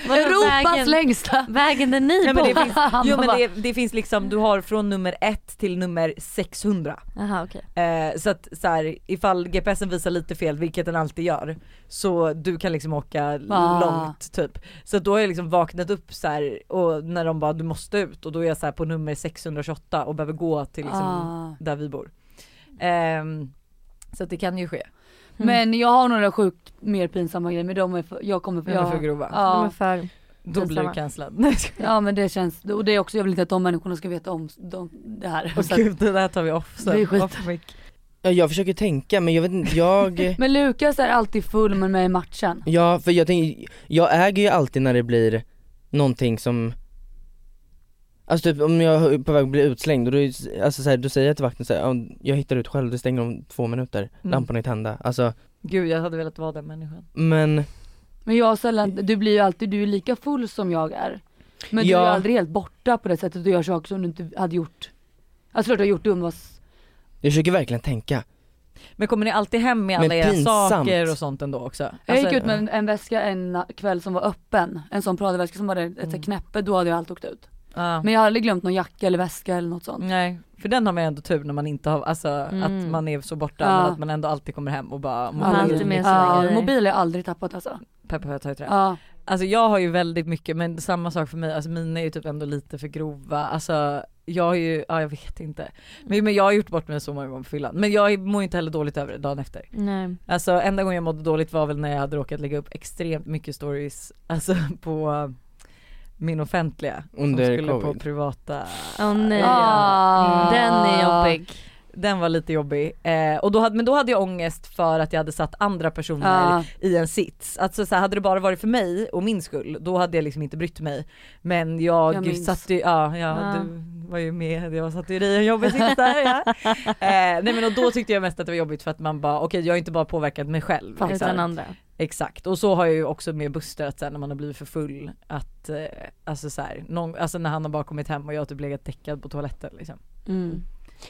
Vadå, Europas vägen, längsta! vägen där ni Ja, men det bor? finns- jo men det, det finns liksom, du har från nummer 1 till nummer 600. Jaha okej. Eh, så att så här, ifall GPSen visar lite fel, vilket den alltid gör, så du kan liksom åka Ah. långt typ. Så att då har jag liksom vaknat upp så här, och när de bara du måste ut och då är jag så här på nummer 628 och behöver gå till liksom, Ah. där vi bor. Ehm, så att det kan ju ske. Mm. Men jag har några sjukt mer pinsamma grejer men de är för, jag kommer Men jag, är för grova. De är ja, för... då blir pinsamma. du cancellad. Nej ja men det känns, och det är också, jag vill inte att de människorna ska veta om de, det här. oh, Så att- gud det där tar vi off sen. Vi skiter. Off mic. ja, Jag försöker tänka men jag vet inte, jag Men Lukas är alltid full men med i matchen. Ja för jag tänker, jag äger ju alltid när det blir någonting som Alltså typ om jag är på väg att bli utslängd och då, är- alltså så här, då säger jag till vakten så här, "Ja, jag hittar ut själv, det stänger om två minuter, Mm. lamporna är tända, alltså Gud jag hade velat vara den människan. men Men jag har sällan, du blir ju alltid, du är lika full som jag är. Men du Ja. är aldrig helt borta på det sättet, du gör saker som du inte hade gjort. Alltså klart du har gjort dumma s- jag försöker verkligen tänka Men kommer ni alltid hem med Men alla era pinsamt. saker och sånt ändå också? Jag gick Alltså- ut med en, en väska en na- kväll som var öppen, en sån Prada-väska som hade ett mm. knäppe, då hade jag allt åkt ut. Ja. Men jag har aldrig glömt någon jacka eller väska eller något sånt. Nej, för den har man ju ändå tur när man inte har, alltså att man är så borta Ja. men att man ändå alltid kommer hem och bara Man har alltid med sig sina Ja, grejer. mobil har jag aldrig tappat alltså. Peppar jag tar i trä. Ja. Alltså jag har ju väldigt mycket men samma sak för mig, alltså mina är ju typ ändå lite för grova, alltså jag har ju, ja jag vet inte. Mm. Men, men jag har gjort bort mig så många gånger på fyllan. Men jag mår ju inte heller dåligt över det dagen efter. Nej. Alltså enda gången jag mådde dåligt var väl när jag hade råkat lägga upp extremt mycket stories, alltså på min offentliga. som under skulle på covid privata. Åh nej. Ah. Den är jobbig. Den var lite jobbig. Eh, och då hade, men då hade jag ångest för att jag hade satt andra personer Ja. i en sits. Alltså så här, hade det bara varit för mig och min skull då hade jag liksom inte brytt mig. Men jag, Jag minns. satt ju, ja, ja Ja. du var ju med, jag satt ju i en jobbig sits där ja. eh, Nej men och då tyckte jag mest att det var jobbigt för att man bara okej jag har inte bara påverkat mig själv. Fattar. liksom. Utan andra. Exakt och så har jag ju också med Buster att sen när man har blivit för full att eh, alltså så här, någon, alltså när han har bara kommit hem och jag har typ legat däckad på toaletten liksom. Mm.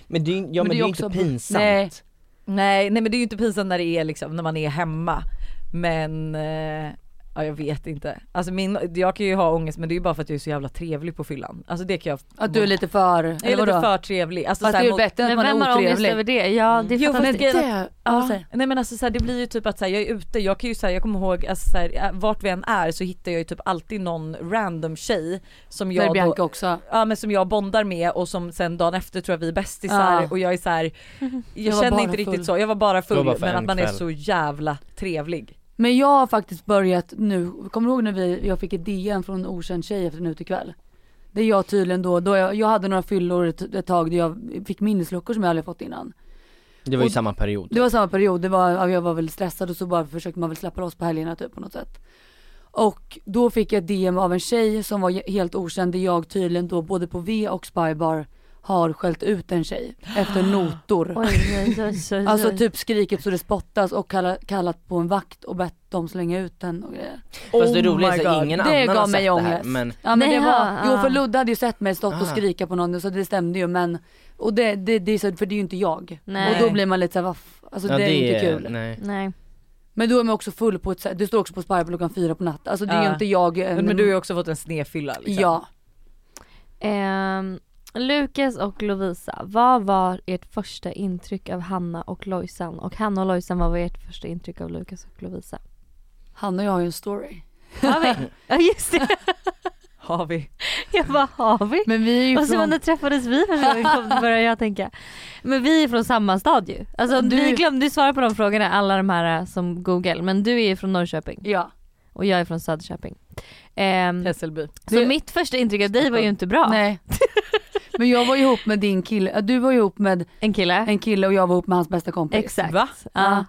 Men det är, ju- ja, men det är ju inte också- pinsamt Nej. Nej, nej men det är ju inte pinsamt när det är liksom, när man är hemma. Men, eh, ja jag vet inte. Alltså min, jag kan ju ha ångest men det är ju bara för att jag är så jävla trevlig på fyllan. Alltså det kan jag. Att du är lite för, jag är eller lite vadå? för trevlig. Alltså, Fast så det är här, ju mot, bättre att Men man vem har är ångest över otrevlig. Mm. det? Ja det Jo, fattar fast jag inte. grejen- Det, ja, säg. nej men alltså så här, det blir ju typ att så här, jag är ute, jag kan ju säga, jag kommer ihåg alltså, så här, vart vi än är så hittar jag ju typ alltid någon random tjej som Det är jag då, Bianca också. ja, men som jag bondar med och som sen dagen efter tror jag vi är bästisar Ja. och jag är så här, jag, Ah. Jag var känner bara inte riktigt full. så, jag var bara full var bara för men en att man är kväll. så jävla trevlig. Men jag har faktiskt börjat nu, kommer du ihåg när vi, jag fick ett DN från en okänd tjej efter en utekväll? Det är jag tydligen då, då jag, jag hade några fyllor ett, ett tag där jag fick minnesluckor som jag aldrig fått innan. Det var ju Och- samma period Det var samma period, det var, ja, jag var väl stressad och så bara försökte man väl släppa loss på helgerna typ på något sätt. Och då fick jag ett DM av en tjej som var je- helt okänd där jag tydligen då både på V och Spybar har skällt ut en tjej efter notor. Oj, oj, oj, oj, oj. Alltså typ skrikit så det spottas och kalla, kallat på en vakt och bett dem slänga ut den och grejer. Fast det roliga Oh my är att God. ingen Oh Det annan har gav sett mig det ångest. här men ja, men Nej, det var, ja, Jo ja. för Ludde hade ju sett mig stått och Ah. skrika på någon så det stämde ju men och det, det, det är så, för det är ju inte jag. Nej. Och då blir man lite såhär, alltså ja, det är inte kul. Nej. Nej. Men då är man också full på ett sätt, det står också på Sparpel klockan fyra på natten. Alltså det är ju Ja. inte jag. eh, Men, men du har ju också fått en snefylla liksom. Ja. Ehm, Lukas och Lovisa, vad var ert första intryck av Hanna och Lojsan? Och Hanna och Lojsan, vad var ert första intryck av Lukas och Lovisa? Hanna och jag har ju en story. Har vi? Ja just det, Har vi. jag bara har vi? Men vi är ju Och så från... när träffades vi första gången kom- började jag tänka. Men vi är från samma stad ju. Alltså Du- vi glömde ju svara på de frågorna, alla de här eh, som google. Men du är ju från Norrköping Ja. och jag är från Söderköping. Ehm, Hässelby. så mitt första intryck av dig var ju inte bra. Nej. Men jag var ihop med din kille, ja, du var ihop med En kille. en kille och jag var ihop med hans bästa kompis. Exakt. Va? Ja.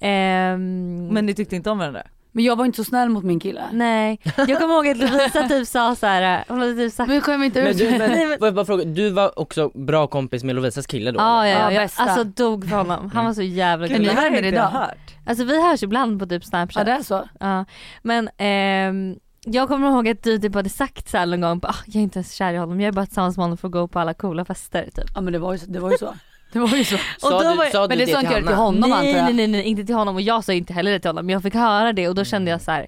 Ehm, Men men ni tyckte inte om varandra? Men jag var inte så snäll mot min kille. nej, jag kommer ihåg att Lovisa typ sa såhär, hon hade typ sagt Men skäm inte Men ut du, mig. Nej, men- men, får jag bara fråga, du var också bra kompis med Lovisas kille då? Ja, Ja, ja, ja. bästa. Alltså dog för honom. Han var så jävla Gud, ni gullig. det här vänner har inte idag? jag hört. Alltså vi hörs ibland på typ Ja snapchat. det är så. Ja. Men ehm, jag kommer ihåg att du typ hade sagt såhär någon gång, bara, "Ah, jag är inte ens kär i honom, jag är bara tillsammans med honom för att gå på alla coola fester typ. Ja men det var ju, det var ju så. Det var ju så. Sa och då du, var- sa Men du det det sa till inte jag till Hanna? honom nej, antar nej jag. Mm. nej nej inte till honom och jag sa inte heller det till honom men jag fick höra det och då kände jag så här.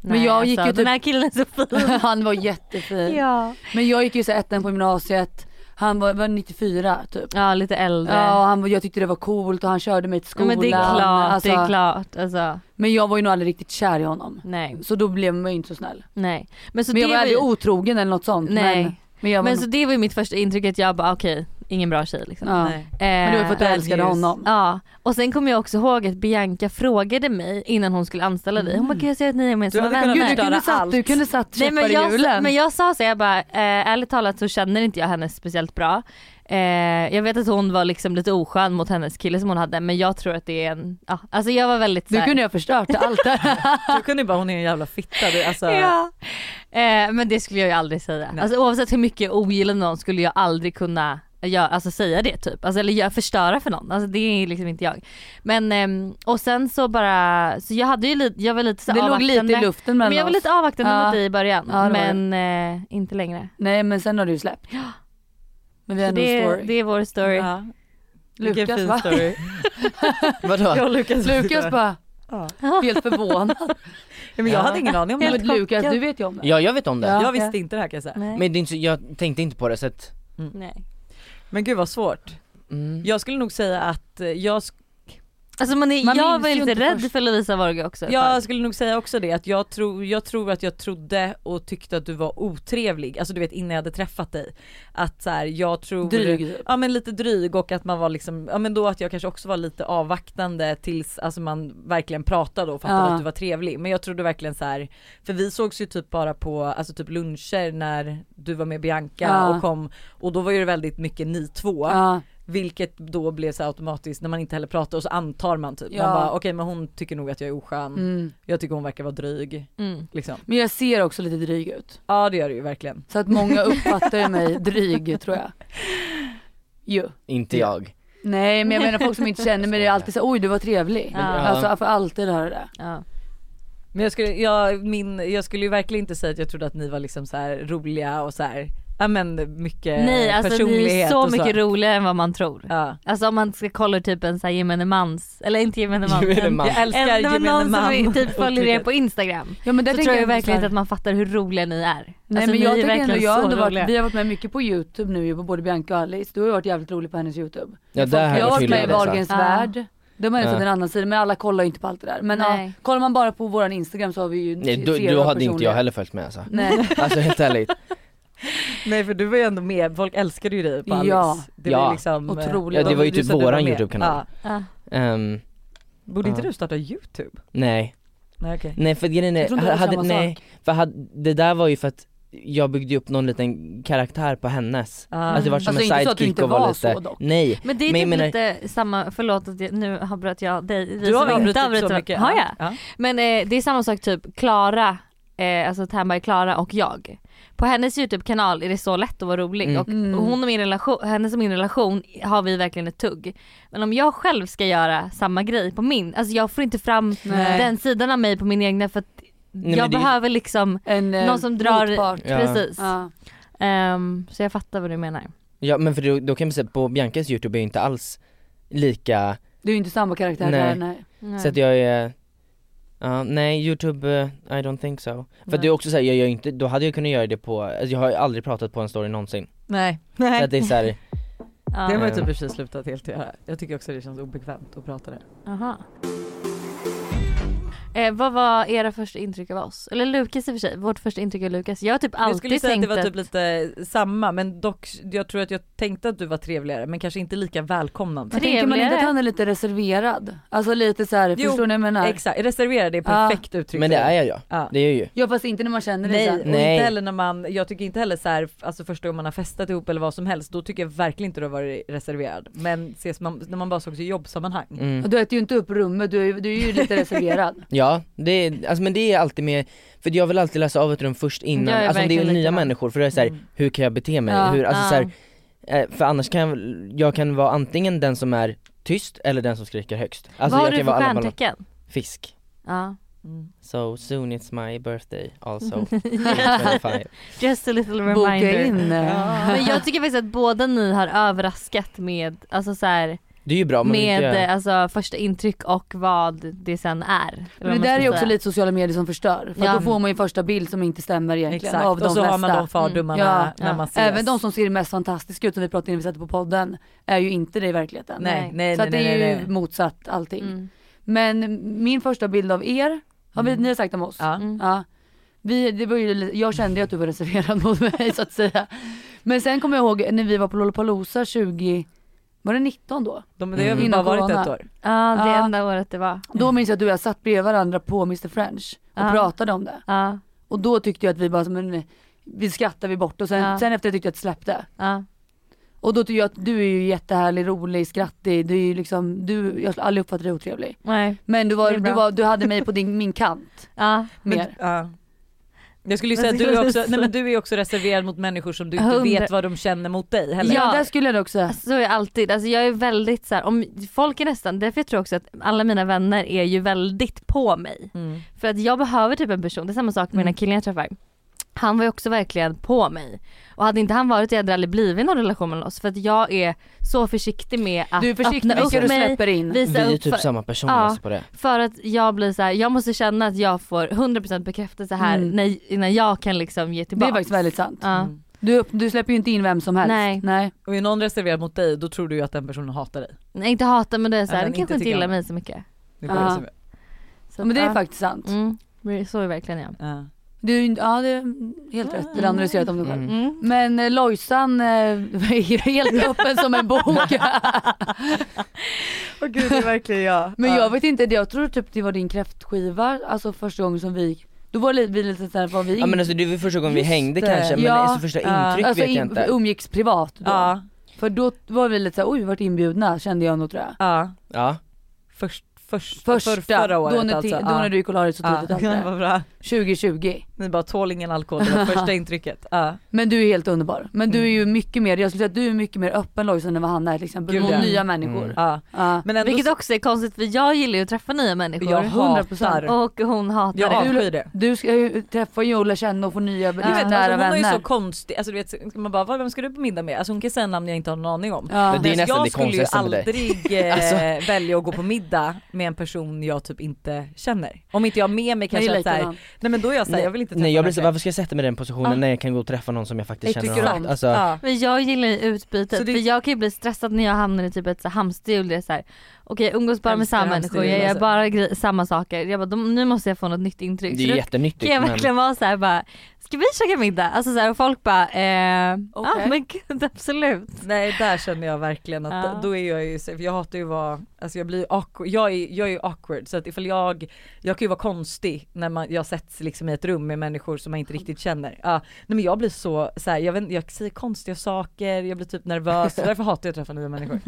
Men jag gick ju alltså, typ- den här killen är så fin. Han var jättefin. ja. Men jag gick ju så här ettan på gymnasiet. Han var, var 94 typ. ja lite äldre. Ja och han, var- jag tyckte det var coolt och han körde mig till Ja, skolan. men det är klart, Alltså, det är klart. Alltså, Men jag var ju nog aldrig riktigt kär i honom. nej, Så då blev man ju inte så snäll. nej. Men, så Men jag det var aldrig ju- otrogen eller något sånt. Nej. Men, men jag var Men nog- så det var ju mitt första intryck att jag bara okej, ingen bra tjej liksom. ja. Nej. Men det var ju för att du Eh, älskade ljus. honom. Ja, och sen kommer jag också ihåg att Bianca frågade mig innan hon skulle anställa dig. Hon bara, gud jag ser att ni är med som hade kunnat Gud Mm. du förstöra vänner. kunde satt, allt. du kunde satt Nej, käppar men, i jag, hjulen. men jag sa så jag bara, eh, ärligt talat så känner inte jag henne speciellt bra. Eh, jag vet att hon var liksom lite oskön mot hennes kille som hon hade men jag tror att det är en, ja, alltså jag var väldigt Du såhär, kunde ju ha förstört allt där. Du kunde ju bara, hon är en jävla fitta. Du, alltså, ja. eh, men det skulle jag ju aldrig säga. Nej. Alltså oavsett hur mycket jag ogillar någon skulle jag aldrig kunna göra, alltså säga det typ. Alltså, eller göra, förstöra för någon. Alltså det är liksom inte jag. Men ehm, och sen så bara, så jag hade ju lite, jag var lite så Det låg avvaktande. lite i luften mellan Men jag var oss. lite avvaktande Ja. mot dig i början. Ja, det var men eh, inte längre. Nej men sen har du ju släppt. Men vi Så har ändå en det, story. det är vår story. Ja. Lukas, Vilken fin va? story. Vadå? Jag och Lukas. Lukas bara Ja. helt förvånad. Ja, Men jag Ja. hade ingen aning om det. men Lukas du vet ju om det. Ja jag vet om det. Ja. Jag visste inte det här kan jag säga. Nej. Men det är inte, så- jag tänkte inte på det så att, Nej. Men gud vad svårt. mm. Jag skulle nog säga att eh, jag, sk- Alltså man är, Man jag minns var ju lite inte rädd först. för Lovisa Vorge också. jag skulle nog säga också det att jag, tro, jag tror att jag trodde och tyckte att du var otrevlig, alltså du vet innan jag hade träffat dig. Att så här, jag tror Dryg typ. Ja men lite dryg och att man var liksom, ja men då att jag kanske också var lite avvaktande tills alltså man verkligen pratade och fattade Ja. att du var trevlig. Men jag trodde verkligen så här, för vi sågs ju typ bara på alltså typ luncher när du var med Bianca Ja. och kom och då var ju det väldigt mycket ni två. Ja. Vilket då blev så här automatiskt när man inte heller pratar och så antar man typ. Ja. Man bara okej men hon tycker nog att jag är oskön. Mm. Jag tycker hon verkar vara dryg Mm. liksom. Men jag ser också lite dryg ut. Ja det gör det ju verkligen. Så att många uppfattar ju mig dryg tror jag. Jo. inte jag. Nej men jag menar folk som inte känner mig det är alltid så oj du var trevlig. Ja. Alltså för alltid höra det. Ja. Men jag skulle, jag, min, jag skulle ju verkligen inte säga att jag trodde att ni var liksom så här roliga och så här, ja men mycket Nej alltså ni är personlighet så och så. mycket roligare än vad man tror. Ja. Alltså om man ska kolla typ en sån här gemene mans, eller inte gemene man, Gemene en- man. Jag en, älskar nej, men gemene någon man. som typ följer er uttrycket. på instagram. Ja men där Så tror jag, verkligen inte inte att man fattar hur roliga ni är. Nej alltså, men ni jag är tycker ändå, verkligen jag har så ändå roliga. varit, vi har varit med mycket på youtube nu ju, på både Bianca och Alice. Du har ju varit jävligt rolig på hennes youtube. Ja där har jag har varit med i tydligen det, så. Wahlgrens Ja. värld. De har ju Ja. sett en annan sida men alla kollar ju inte på allt det där. Men ja, Nej. kollar man bara på våran instagram så har vi ju Nej då, ser då vår hade inte jag personlighet. heller följt med alltså. Nej. Alltså helt ärligt. Nej för du var ju ändå med, folk älskade ju dig på Alice. Ja. det var Ja. liksom, eh, Otroligt. Ja, det var ju du typ sa att du våran med. YouTube-kanal. Ja. Ja. Ehm, Borde inte Ja. du starta YouTube? nej. Nej okej. Nej för grejen Jag är, tror inte det var hade, samma nej, för hade, det där var ju för att jag byggde upp någon liten karaktär på hennes. Ja. Alltså det var Alltså, som inte så en att du sidekick inte och var var lite, så dock. nej. Men det är Men jag typ menar- lite samma, förlåt att jag, nu avbröt jag dig. Vi Du har som avbrutit inte så avbryter- mycket. Har jag? Ja. Men eh, det är samma sak typ Klara, eh, alltså Ternberg Klara och jag. På hennes YouTube-kanal är det så lätt att vara rolig Mm. och Mm. hon och min relation, hennes och min relation har vi verkligen ett tugg. Men om jag själv ska göra samma grej på min, alltså jag får inte fram Nej. den sidan av mig på min egna för att men jag det är- behöver liksom, En, eh, Någon som drar- motpart. Ja. precis. Ja. Ehm, så jag fattar vad du menar. Ja men för då, då kan vi säga på Biancas youtube är ju inte alls lika Det är ju inte samma karaktär Nej. där nej. Nej. Så att jag är, ja nej youtube, eh, I don't think so. För att det är också såhär, jag gör ju inte, då hade jag kunnat göra det på, alltså jag har ju aldrig pratat på en story någonsin. Nej. Så Nej. att det är såhär, ja. Det har jag typ i och för sig slutat helt göra. Jag tycker också det känns obekvämt att prata det. Aha. Eh, vad var era första intryck av oss? Eller Lukas i och för sig, vårt första intryck av Lukas. Jag har typ Jag skulle alltid säga att tänkt det var typ lite samma men dock, jag tror att jag tänkte att du var trevligare men kanske inte lika välkomnande. Men tänker man inte Trevligare. att han är lite reserverad? Alltså lite så här, Jo, förstår ni vad jag menar? Exakt, reserverad är Ja. perfekt uttryck. men det är jag ja. Ja. Det är jag ju. ja fast inte när man känner det Nej, så och här. Nej. inte heller när man, jag tycker inte heller så här, alltså första gången man har festat ihop eller vad som helst, då tycker jag verkligen inte du har varit reserverad. Men ses man, när man bara sågs i jobbsammanhang. Mm. Och Du äter ju inte upp rummet, du är, ju- du är ju lite reserverad. Ja, det är, alltså men det är alltid med, för jag vill alltid läsa av ett rum först innan, Jag är alltså om det är verkligen nya likadan. människor för då är det såhär, Mm. hur kan jag bete mig? Ja, hur, alltså ja. så här, eh, för annars kan jag, jag kan vara antingen den som är tyst eller den som skriker högst. Alltså vad har jag du kan för vara alla ballar. stjärntecken? Fisk. Ja. Mm. So soon it's my birthday also. 25. Just a little Boka reminder. in. Men jag tycker faktiskt att båda ni har överraskat med, alltså så här, Det är ju bra om man inte med gör. eh, alltså, första intryck och vad det sen är. Eller vad Men man det där ska är ju också säga. lite sociala medier som förstör. För Ja. att då får man ju första bild som inte stämmer egentligen Exakt, av de och så flesta. har man de fördomarna Mm. Ja, när ja. man ses. Även de som ser mest fantastiska ut som vi pratade innan vi satte på podden är ju inte det i verkligheten. Nej, nej, så nej, att det nej, är nej, ju nej. motsatt allting. Mm. Men min första bild av er, har vi, Mm. ni har sagt om oss. Ja. Mm. Ja. Vi, det var ju, li- jag kände ju att du var reserverad mot mig så att säga. Men sen kommer jag ihåg när vi var på Lollapalooza 20, var det 19 då? De, det har väl Mm. bara Innan varit corona. ett år. Ja, det Ja. enda året det var. Då minns jag att du och jag satt bredvid varandra på Mr French och Mm. Ja. pratade om det. Ja, Och då tyckte jag att vi bara, men, vi skrattade vi bort och sen, Ja. sen efter det tyckte jag att det släppte. ja. Och då tycker jag att du är ju jättehärlig, rolig, skrattig, du är ju liksom, du, jag har aldrig uppfattat dig otrevlig. Nej. Men du, var, Det är bra. du, var, du hade mig på din, min kant Ja. Men- mer. Ja. Jag skulle ju Men säga att du skulle är, jag också, säga- nej, men du är också reserverad mot människor som du inte Hundra- vet vad de känner mot dig heller. Ja, där skulle jag nog säga. Så är jag alltid, alltså jag är väldigt så här, om folk är nästan, därför jag tror också att alla mina vänner är ju väldigt på mig. Mm. För att jag behöver typ en person, det är samma sak med den Mm. här killen jag träffar. Han var ju också verkligen på mig. Och hade inte han varit det hade det aldrig blivit någon relation mellan oss. För att jag är så försiktig med att Du är försiktig med vilka du mig, släpper in. visa Vi är upp typ för, samma person Ja. alltså på det. för att jag blir så här, jag måste känna att jag får 100% bekräftelse här Mm. när, innan jag kan liksom ge Det tillbaka. är faktiskt väldigt sant. Ja. Mm. Du, upp- du släpper ju inte in vem som helst. Nej. Nej. Och är någon reserverad mot dig då tror du ju att den personen hatar dig. Nej inte hata men det är så Ja, här, men den kanske inte inte tycker gillar om. mig så mycket. Det är bara Ja. reserverad. Så Ja, att, Men det är ja. faktiskt sant. Mm, det är så är verkligen jag. Ja. Du, är ju inte- ja det är helt rätt. Det andra du säger om dig själv. Mm. Mm. Men eh, Lojsan eh, är helt öppen som en bok. Åh gud det är verkligen jag. Men jag vet inte, jag tror typ det var din kräftskiva, alltså första gången som vi, då var li- vi lite såhär, var vi in, Ja men alltså det var första gången vi Just hängde det. kanske men Ja. alltså första Ja. intryck alltså vet jag in, inte. umgicks privat då. Ja, För då var vi lite såhär, oj vi vart inbjudna kände jag nog tror jag. ja. Ja. Först, först, Första, för, förra året då, när, alltså. ti- då när du gick och la dig så tidigt ja. allt det ja. där. Vad bra. 2020. Ni bara tål ingen alkohol, det var första intrycket. Ja. Men du är helt underbar. Men du är Mm. ju mycket mer, jag skulle säga att du är mycket mer öppen Lojsan än vad han är till exempel Gud, mot ja. nya människor. Mm. Ja. Ja. Men ändå Vilket så, också är konstigt för jag gillar ju att träffa nya människor. jag 100%. hatar, Och hon hatar jag det. avskyr det. Du ska ju träffa ju och lära känna och få nya Du vet, liksom, alltså, nära hon är ju så vänner. konstig, alltså, du vet, så- man bara "Vad, vem ska du på middag med? Alltså, hon kan säga namn jag inte har någon aning om. Ja. Men det är Men nästan det jag skulle ju konstigaste med dig. aldrig eh, Alltså. välja att gå på middag med en person jag typ inte känner. Om inte jag har med mig kanske Nej, att såhär, likadant. nej men då är jag såhär, jag vill inte träffa Nej jag den blir så, här. varför ska jag sätta mig i den positionen Ah. när jag kan gå och träffa någon som jag faktiskt Jag känner tycker har om. haft- alltså, Ja. Men jag gillar ju utbytet Så det- för jag kan ju bli stressad när jag hamnar i typ ett så här hamsterhjul där det är såhär okej jag umgås bara med Älskar samma människor, hamsterhjul, jag gör alltså. bara gre- samma saker. Jag bara de, nu måste jag få något nytt intryck. Det är Så ju då kan jättenyttigt jag men verkligen vara såhär bara ska vi käka middag? Alltså såhär och folk bara eh, ja Okej. men gud absolut. Nej där känner jag verkligen att Ja. då är jag ju, så- för jag hatar ju att vara, alltså jag blir awkward, jag är, jag är ju awkward så att ifall jag, jag kan ju vara konstig när man, jag sätts liksom i ett rum med människor som man inte riktigt känner. Ja, nej men jag blir så, så här, jag, vet, inte, jag säger konstiga saker, jag blir typ nervös, så därför hatar jag att träffa nya människor.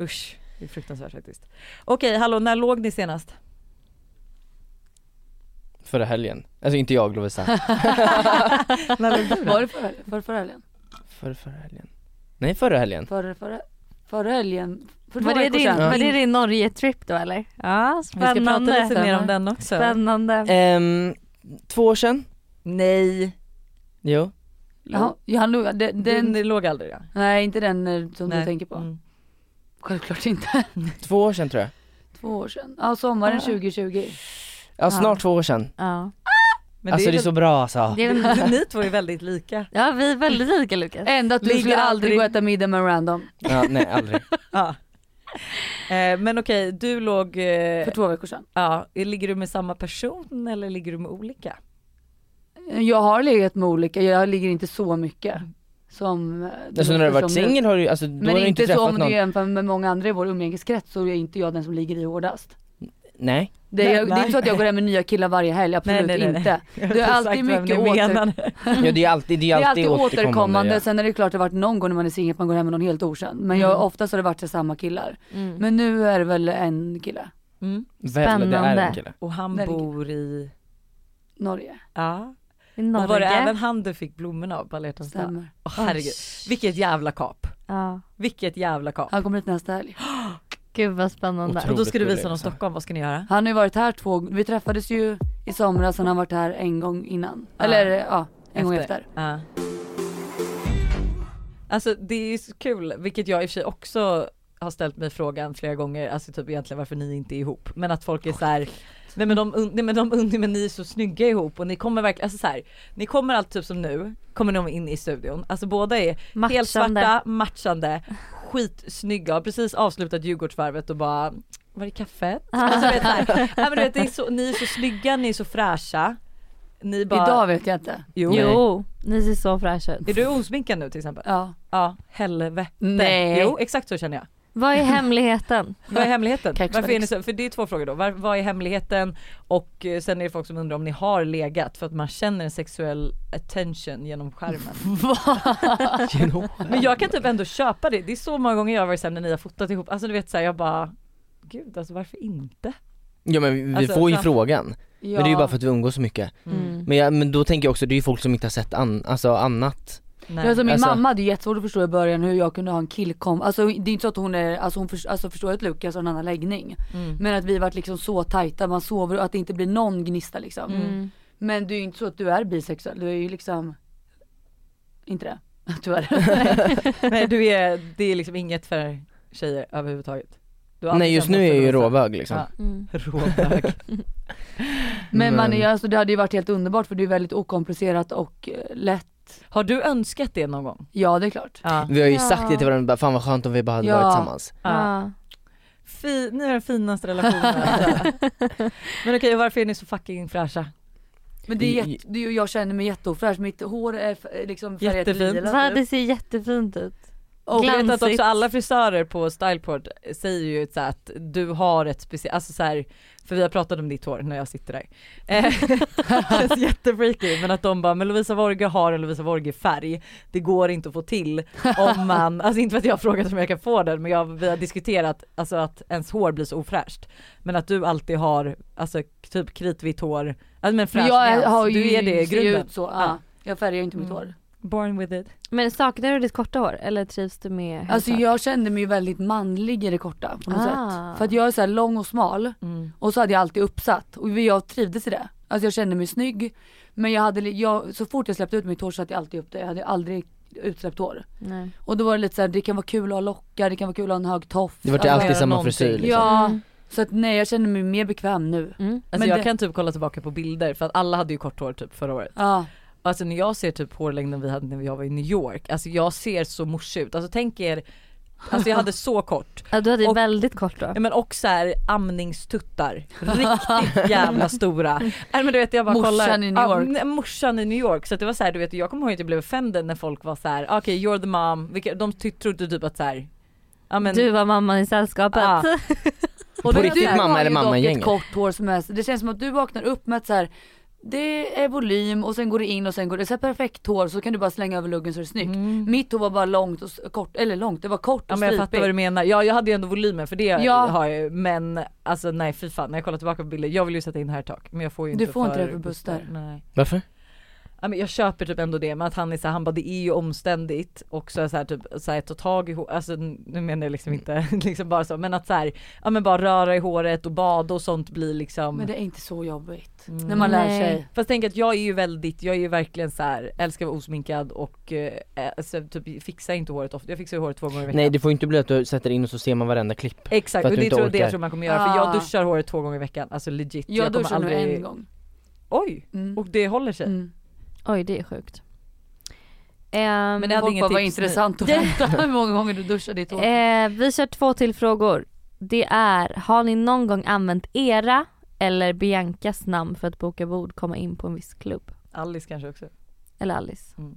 Usch, det är fruktansvärt faktiskt. Okej, hallå när låg ni senast? förra helgen. Alltså inte jag Lovisa. när låg du Var då? det förra, förra, förra helgen? Förra, förra helgen. Nej förra helgen. Förra, förra, förra helgen? För Var två det, veckor din, sedan. var det din Norge-trip då eller? Vi Ja ska prata lite spännande. mer om Eh, den också. Spännande. Ehm, två år sedan. Nej, Jo. Jaha, ja, han låg, den, den, den, låg aldrig ja. nej inte den eh, som Nej. du tänker på. Mm. Självklart inte. Två år sedan tror jag. Två år sedan. Ja sommaren Ja. 2020. Ja snart Ja. två år sedan. Ja. Men alltså det är, så bra alltså. Det är väl, ni två är väldigt lika. ja vi är väldigt lika Lukas. Ändå att du Ligger skulle aldrig aldrig- gå och äta middag med random. Ja, nej aldrig. Ja. Eh, men okej, du låg, eh, För två veckor sedan. ja, ligger du med samma person eller ligger du med olika? Eh, Jag har legat med olika, jag ligger inte så mycket. Som eh, det Alltså när du har låter varit som nu. singel har du alltså, då Men har du inte inte så träffat om du någon. jämför med många andra i vår umgängeskrets så är inte jag den som ligger i hårdast. Nej. Det, Nej, jag, det är nej. inte så att jag går hem med nya killar varje helg, absolut nej, nej, nej. inte. Det är alltid mycket åter, Ja, det är alltid, det det är alltid är alltid återkommande. återkommande. ja. Sen är det klart det har varit någon gång när man är singel att man går hem med någon helt okänd. Men jag, Mm. oftast har det varit samma killar. Mm. Men nu är det väl en kille, Mm. Väl, det är en Spännande. kille. Och han Verkligen. bor i, Norge. ja. I Och var det Norge. även han du fick blommorna av på alla hjärtans dag? Stämmer. Åh, herregud, vilket jävla kap. Ja. Vilket jävla kap. Han kommer hit nästa helg. Gud vad spännande. Otroligt. Och då ska du rolig visa honom resa. Stockholm, vad ska ni göra? Han har ju varit här två, vi träffades ju i somras, han har varit här en gång innan. Ja. Eller ja, en gång efter. Ja. Alltså det är ju så kul, vilket jag i och för sig också har ställt mig frågan flera gånger, alltså typ egentligen varför ni inte är ihop. Men att folk är så här, nej men de, und- nej men de und- nej men ni är så snygga ihop och ni kommer verkligen, alltså så här, ni kommer allt typ som nu, kommer de in i studion, alltså båda är helt Matchande. svarta, matchande, skitsnygga, har precis avslutat Djurgårdsvarvet och bara var är kaffet? Alltså, vet, så här, nej, men du vet, det är så, ni är så snygga, ni är så fräscha. Ni bara, Idag vet jag inte. jo. Nej. Jo, ni ser så fräscha ut. Är du osminkad nu till exempel? Ja. Ja, helvete. Nej. Jo, exakt så känner jag. Vad är hemligheten? Vad är hemligheten? Kaxfix. Varför är ni så? För det är två frågor då. Var, vad är hemligheten? Och eh, sen är det folk som undrar om ni har legat för att man känner en sexuell attention genom skärmen. Men jag kan typ ändå köpa det. Det är så många gånger jag har varit såhär när ni har fotat ihop, alltså du vet såhär jag bara Gud alltså varför inte? Ja men vi- vi Alltså, får ju fram- frågan. Ja. Men det är ju bara för att vi umgås så mycket. Mm. Men, jag, men då tänker jag också, det är ju folk som inte har sett an, alltså annat. Nej. Alltså min Alltså- mamma hade ju jättesvårt att förstå i början hur jag kunde ha en killkom. Alltså det är inte så att hon är, alltså hon för, alltså, förstår att Lukas har en annan läggning. Mm. Men att vi varit liksom så tajta, man sover och att det inte blir någon gnista liksom. Mm. Men det är ju inte så att du är bisexuell, du är ju liksom inte det. Tyvärr. Mm. Nej du är, det är liksom inget för tjejer överhuvudtaget. Du har Nej alltid just känt nu är jag något ju för rosa. råbög liksom. Ja. Mm. Råbög. Men man är, ju- Men- alltså, det hade ju varit helt underbart för det är väldigt okomplicerat och eh, lätt. Har du önskat det någon gång? Ja det är klart. Ja. Vi har ju Ja. sagt det till varandra, bara, fan vad skönt om vi bara hade Ja. varit tillsammans. ja. Ja. Fi, ni har den finaste relationen alltså. Men okej varför är ni så fucking fräscha? Men det är I- jätte, det är ju- jag känner mig jätteofräsch, mitt hår är f- liksom färgat Jättefint. lila. typ. Va, det ser jättefint ut. Och jag vet att Glansigt. också alla frisörer på Styleport säger ju så här att du har ett speciellt, alltså så här, för vi har pratat om ditt hår när jag sitter där. Eh, det känns jättefreaky men att de bara, men Lovisa Vorge har en Lovisa Vorge färg, det går inte att få till om man, alltså inte för att jag har frågat om jag kan få den men jag, vi har diskuterat alltså att ens hår blir så ofräscht. Men att du alltid har alltså typ kritvitt hår, alltså men Men fräsch jag är, nyans. har ju, du är det i ser ju grunden. ut så. Ja. Ja. Jag färgar ju inte mitt Mm. hår. Born with it. Men saknar du ditt korta hår eller trivs du med Alltså huvudtaget? jag kände mig ju väldigt manlig i det korta på något Ah. sätt. För att jag är så här lång och smal Mm. och så hade jag alltid uppsatt och jag trivdes i det. Alltså jag kände mig snygg men jag hade, li- jag, så fort jag släppte ut mitt hår så hade jag alltid upp det. Jag hade aldrig utsläppt hår. Nej. Och då var det lite så här, det kan vara kul att ha lockar, det kan vara kul att ha en hög tofs. Det vart Ja, alltid göra samma någonting. frisyr liksom. Ja, Mm. så att nej jag känner mig mer bekväm nu. Mm. Alltså Men jag det- kan typ kolla tillbaka på bilder för att alla hade ju kort hår typ förra året. Ja, Alltså när jag ser typ hårlängden vi hade när jag var i New York, alltså jag ser så morsig ut. Alltså tänk er, alltså jag hade så kort. Ja, du hade ju Och- väldigt kort då. Ja, Men och så här amningstuttar, riktigt jävla stora. Nej men du vet jag bara Morsan kollar. i New York. Ja, nej, morsan i New York. Så att det var så här, du vet jag kommer ihåg att jag blev offended när folk var så här: "Ah, okej you're the mom, Vilka, de ty- trodde typ att så här, ja men Du var mamman i sällskapet. Ja. På det är riktigt så här- har mamma ju eller dock mamma i ett gänget. kort hår som är, det känns som att du vaknar upp med ett så här. Det är volym och sen går det in och sen går det, så här perfekt hår så kan du bara slänga över luggen så är det snyggt. Mm. Mitt hår var bara långt och s- kort, eller långt, det var kort Ja och men jag fattar vad du stripigt. menar. Ja jag hade ju ändå volymen för det Ja. har jag ju men alltså nej fy fan när jag kollar tillbaka på bilder, jag vill ju sätta in hair talk men jag får ju Du inte får inte för det för Buster. Nej. Varför? ja, men jag köper typ ändå det men att han är så här, han bara det är ju omständigt och så, är så här typ så här, ta tag i håret, alltså nu menar jag liksom Mm. inte liksom bara så men att så här, ja men bara röra i håret och bada och sånt blir liksom Men det är inte så jobbigt. Mm. När man lär Nej. sig. Fast tänk att jag är ju väldigt, jag är ju verkligen så här, älskar att vara osminkad och eh, alltså, typ fixar inte håret ofta, jag fixar ju håret två gånger i veckan. Nej det får inte bli att du sätter in och så ser man varenda klipp. Exakt för att och du det inte tror, det orkar. tror jag man kommer göra för Ah. jag duschar håret två gånger i veckan, alltså legit. Jag, kommer duschar nu en gång. Oj! Mm. Och det håller sig. Mm. Oj det är sjukt. Ehm, Men Det det hade hade inget var tips nu. intressant att veta hur många gånger du duschar ditt hår. Eh, vi kör två till frågor. Det är, har ni någon gång använt era eller Biancas namn för att boka bord, komma in på en viss klubb? Alice kanske också. Eller Alice? Mm.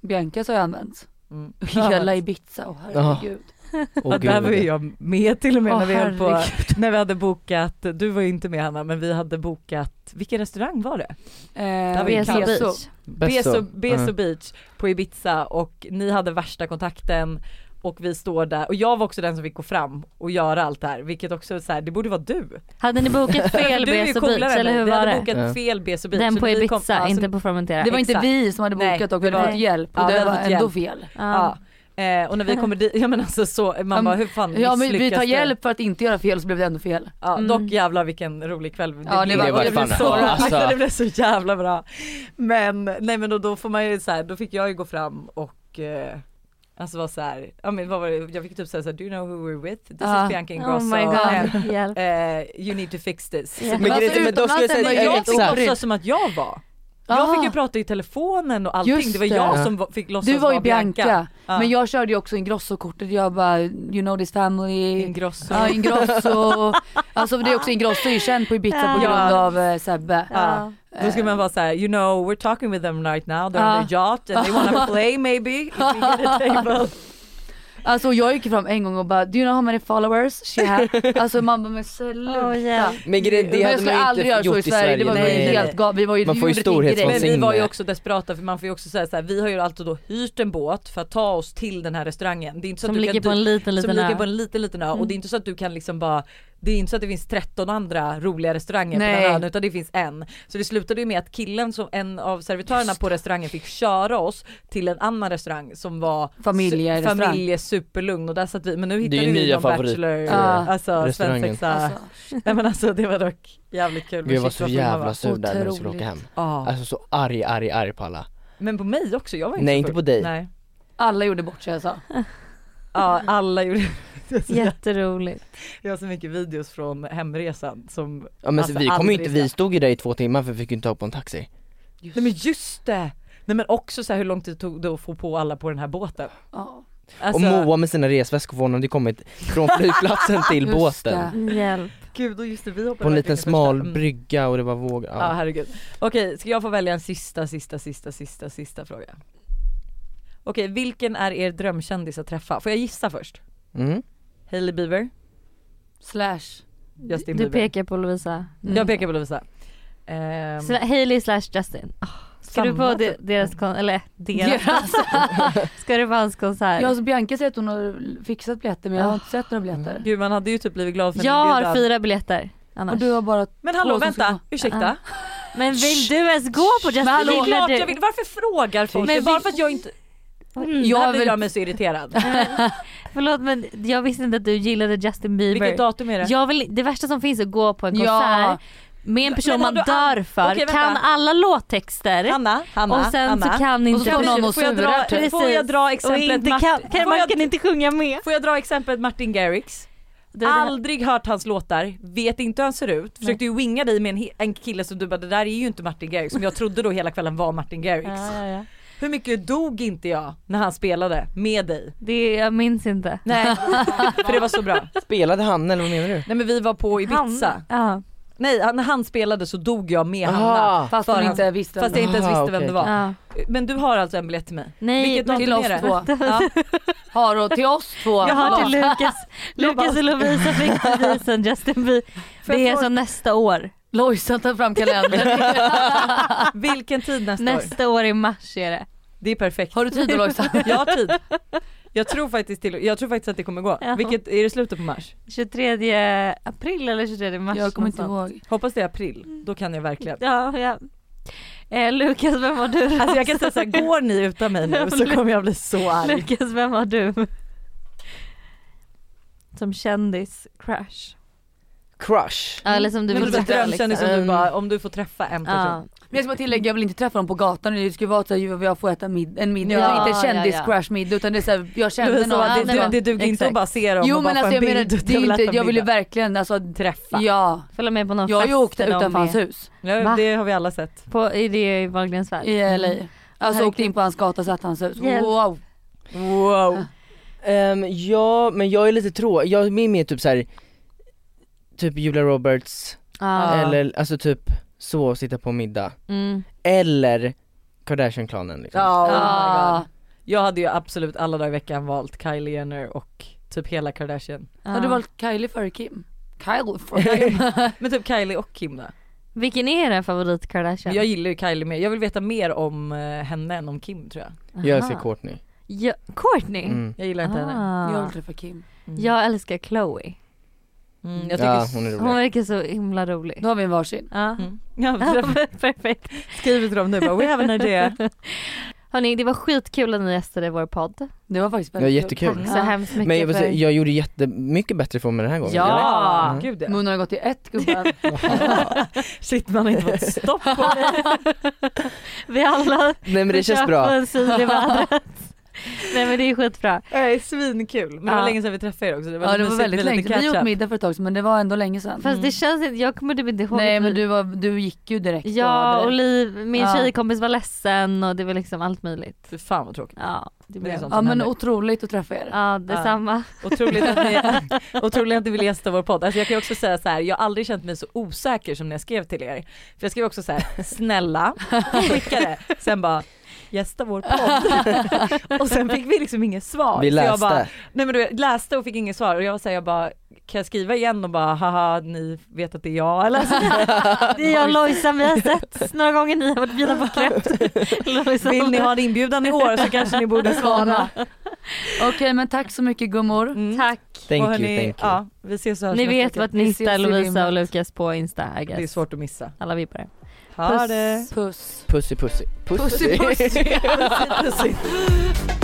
Biancas har jag använt. Mm. Hela Ibiza, oh, herregud. Åh, ja, där gud, var vad ju det- jag med till och med Åh, när, vi höll på, herregud. när vi hade bokat, du var ju inte med Hanna men vi hade bokat, vilken restaurang var det? Eh, var ju Besa kallt. Beso. Beach. Beso, Besso. Beso Beach på Ibiza och ni hade värsta kontakten och vi står där och jag var också den som fick gå fram och göra allt det här vilket också är så här, det borde vara du. Alltså, Hade ni bokat fel du är ju Beso coolare Beach än eller mig. hur Vi var hade det? bokat Ja. fel Beso Beach. Den så på när vi Ibiza, kom- alltså, ja, så- inte på Fermentera. Det var inte Exakt. vi som hade Nej, bokat och det vi hade var- fått hjälp och Ja, vi det hade var fått ändå hjälp. fel. Ja. Ja. Eh, och när vi kommer dit, ja men alltså så, man Ja, bara hur fan Ja men vi misslyckas tar det? hjälp för att inte göra fel så blev det ändå fel. Ja, Mm. Dock jävlar vilken rolig kväll det Ja, det blev. var- det, blev fan- så, ja, alltså. det blev så jävla bra. Men nej men då, då får man ju så här, då fick jag ju gå fram och eh, Alltså var så här, ja men vad var det, jag fick typ säga såhär, do you know who we're with? This Ah. is Bianca Oh Ingrosso my and, god, hjälp. eh, you need to fix this. Ja. Men, Men grejen- alltså, men då skulle jag Men utomlands säga, är man ju jag exakt. fick exakt. låtsas som att jag var. Jag Ah. fick ju prata i telefonen och allting, Just det var det. jag som var- fick låtsas Du var ju vara Bianca, Ja. men jag körde ju också Ingrosso-kortet. Jag bara you know this family. Ingrosso. Ja Ingrosso. alltså det är också Ingrosso är ju känd på Ibiza på Ja. grund av eh, Sebbe. Ja. Då skulle man vara såhär, you know we're talking with them right now, they're on Ja. their yacht and they wanna play maybe if we get a table. Alltså jag gick fram en gång och bara do you know how many followers she had? Alltså man bara men sluta. Åh, hjälp. men grejen, det men jag hade skulle man ju aldrig göra inte så i gjort i Sverige, det var ju nej, nej, nej. helt galet. Vi var ju, Man vi får ju gjorde det inte storhetsvansinne. direkt. Men vi var ju Vansinne. också desperata för man får ju också säga såhär, vi har ju alltid då hyrt en båt för att ta oss till den här restaurangen. Det är inte så Som att du ligger kan, på en liten som liten ligger ö. på en liten liten ö och Mm. det är inte så att du kan liksom bara det är inte så att det finns 13 andra roliga restauranger på Nej. den här ön utan det finns en. Så det slutade ju med att killen som en av servitörerna på restaurangen fick köra oss till en annan restaurang som var Familjerestaurang. familje superlugn och där satt vi men nu ju hittade vi nya någon favorit- bachelor, Ja. alltså restaurangen. svensexa. Alltså, Nej men alltså det var dock jävligt kul. Gud jag var Shit, så vad full man var. jävla sur där när vi skulle Otroligt. åka hem. Ja. Alltså så arg, arg, arg på alla. Men på mig också, jag var inte Nej, så inte full. på dig. Nej. alla gjorde bort sig alltså. Ja alla gjorde jag, Jätteroligt. jag har så mycket videos från hemresan som Ja men Alltså, vi kom ju aldrig inte, så. vi stod ju där i två timmar för vi fick ju inte tag på en taxi. Nej men just det! Nej men också så här, hur lång tid tog det att få på alla på den här båten? Ja. Alltså, och Moa med sina resväskor för hon hade ju kommit från flygplatsen till Just båten. det. Hjälp. gud och just det vi hoppade På en verkligen liten första- smal Mm. brygga och det var vågor. Ja. Ja herregud. Okej, ska jag få välja en sista, sista, sista, sista, sista fråga? Okej, vilken är er drömkändis att träffa? Får jag gissa först? Mm. Hailey Bieber? Slash. Justin du Bieber? pekar Mm. på Lovisa. Jag pekar på Lovisa. Ehm, Sla- Hailey slash Justin. Oh, ska du på samma de- typ. deras kon- eller deras, Deras. ska du på hans konsert? Ja, alltså Bianca säger att hon har fixat biljetter men jag har inte sett några biljetter. Gud man hade ju typ blivit glad för en Jag har inbjudan. fyra biljetter annars. Och du har bara Men hallå Två som ska vänta, gå. ursäkta. Ja. Men vill du ens gå på Justin? Men hallå, Det är klart klart du- jag vill, varför frågar folk? Men Men bara vi- för att jag inte, Mm, jag här Jag blir vill- jag mig så irriterad. Förlåt men jag visste inte att du gillade Justin Bieber. Vilket datum är det? jag vill, det värsta som finns är att gå på en Ja. konsert med en person Men har man du an- dör för, Okej, vänta. kan alla låttexter Hanna, Hanna, och sen Hanna. så kan Och så inte får någon och får, jag surar, dra, typ. får jag dra och exemplet inte kan, Martin, kan, får, man jag, kan inte sjunga med. får jag dra exemplet Martin Garrix? Det är det här- Aldrig hört hans låtar, vet inte hur han ser ut, försökte ju winga dig med en, he- en kille som du bara det där är ju inte Martin Garrix som jag trodde då hela kvällen var Martin Garrix. Ja, ja, ja. Hur mycket dog inte jag när han spelade med dig? Det, jag minns inte. Nej, för det var så bra. Spelade han eller vad menar du? Nej men vi var på Ibiza. Han- Ja. Nej han- när han spelade så dog jag med Hanna. Aha. fast hon För- inte visste. Fast vem jag inte ens Aha, visste okej. vem det var. ja. Men du har alltså en biljett till mig? Nej, Vilket men- datum till oss är det? två. Ja. det var. Har och till oss två. Jag har till Ja. Lukas, Lukas och Lovisa fick bevisen Justin Bieber. Får jag Det är fråga- som nästa år. Lojsan tar fram kalendern. Vilken tid nästa år? Nästa år i mars är det. Det är perfekt. Har du tid då Lojsan? Jag har tid. Jag tror faktiskt, till, jag tror faktiskt att det kommer gå. Ja. Vilket, är det slutet på mars? 23 april eller 23 mars. Jag kommer inte någonstans. ihåg. Hoppas det är april, då kan jag verkligen. Ja, ja. Eh, Lukas, vem var du? Alltså jag kan säga såhär, går ni utan mig nu så kommer jag bli så arg. Lukas, vem var du? Som kändis, crush. Crush. Ja, eller som du Du vill får träffa drömkänner som liksom. du Mm. bara, om du får träffa en person. Ja. Men jag ska bara tillägga, jag vill inte träffa dem på gatan. Det ska ju vara såhär, jag får äta mid- en middag. Ja, det är inte ja, ja. kändis crush middag utan det är såhär, jag Det, känner var så, någon. att Ja, det, men det, ja. det duger inte Exakt. att bara se dem Jo och bara men få alltså en jag bild. menar, det är vill ju inte, äta jag vill ju middag. verkligen alltså, träffa. ja. Följa med på någon Jag har ju fest åkt där de utanför är. hans hus Ja, Va? det har vi alla sett. På, i det i Wahlgrens värld. Mm. i LA. Alltså Herregud. åkte in på hans gata och satt i hans hus. Hjälp. Wow. Wow. Ehm, ja men jag är lite trå, jag är mer typ såhär Typ Julia Roberts, Ja. Ja. eller alltså typ så, sitta på middag. Mm. Eller Kardashian-klanen liksom. Ja, oh my Ja. God. Jag hade ju absolut alla dagar i veckan valt Kylie Jenner och typ hela Kardashian. Har du valt Kylie före Kim? Kylie före Kim? Men typ Kylie och Kim då. Vilken är din favorit Kardashian? Jag gillar ju Kylie mer, jag vill veta mer om eh, henne än om Kim tror jag. Jag Aha. älskar Courtney. Ja, Courtney? Mm. Jag gillar inte henne. Jag Ah. vill träffa Kim. Mm. Jag älskar Chloe. Mm, jag tycker Ja hon är Hon rolig. verkar så himla rolig. Då har vi en varsin. Ja. Mm. Ja, Perfekt. skriver till dem nu bara, we have an idea. Hörni, det var skitkul att ni gästade vår podd. Det var faktiskt Det var väldigt jättekul. Så Ja. hemskt mycket Men jag, vill för... säga, jag gjorde jättemycket bättre ifrån mig den här gången. Ja. Mm. Gud ja. Munnen har gått till ett gubben. Shit man har inte fått stopp på det. Vi alla eller? Nej men det känns bra. en syl i vädret. Nej men det är skitbra. Nej, Svinkul. Men det Ja. var länge sedan vi träffade er också. Det var, Ja det mysigt var med väldigt lite länge sedan. Vi catch åt up. middag för ett tag sedan men det var ändå länge sedan. Fast det Mm. känns inte, jag kommer typ inte ihåg. Nej att men vi- du, var, du gick ju direkt Ja och och var direkt. Liv, min Ja. tjejkompis var ledsen och det var liksom allt möjligt. Fy fan vad tråkigt. Ja, det Det är blev sånt. Ja som men händer. otroligt att träffa er. Ja, detsamma. Otroligt att ni, otroligt att ni vill gästa vår podd. Alltså jag kan ju också säga så här, jag har aldrig känt mig så osäker som när jag skrev till er. För jag skrev också så här, snälla, skicka det. Sen bara, gästa vår podd. Och sen fick vi liksom inget svar. Vi Så jag bara, läste. Nej men du vet, läste och fick inget svar och jag var såhär, jag bara kan jag skriva igen och bara haha ni vet att det är jag eller? Alltså, Det är jag och Lojsan, vi har sett några gånger ni har varit bjudna på crepes. vill ni ha en inbjudan i år så kanske ni borde svara. Okej men tack så mycket gummor. Mm. Tack. Thank Och you, hörni, thank you. Ja, vi ses och hörs Ni nästa vet vecka. vart Vi ni ses hittar i Lovisa rymden. och Lukas på Insta I Det är guess. svårt att missa. Alla vi på det. Ha Puss. det! Puss. Pussy pussy. Pussy, pussy. Pussy, pussy.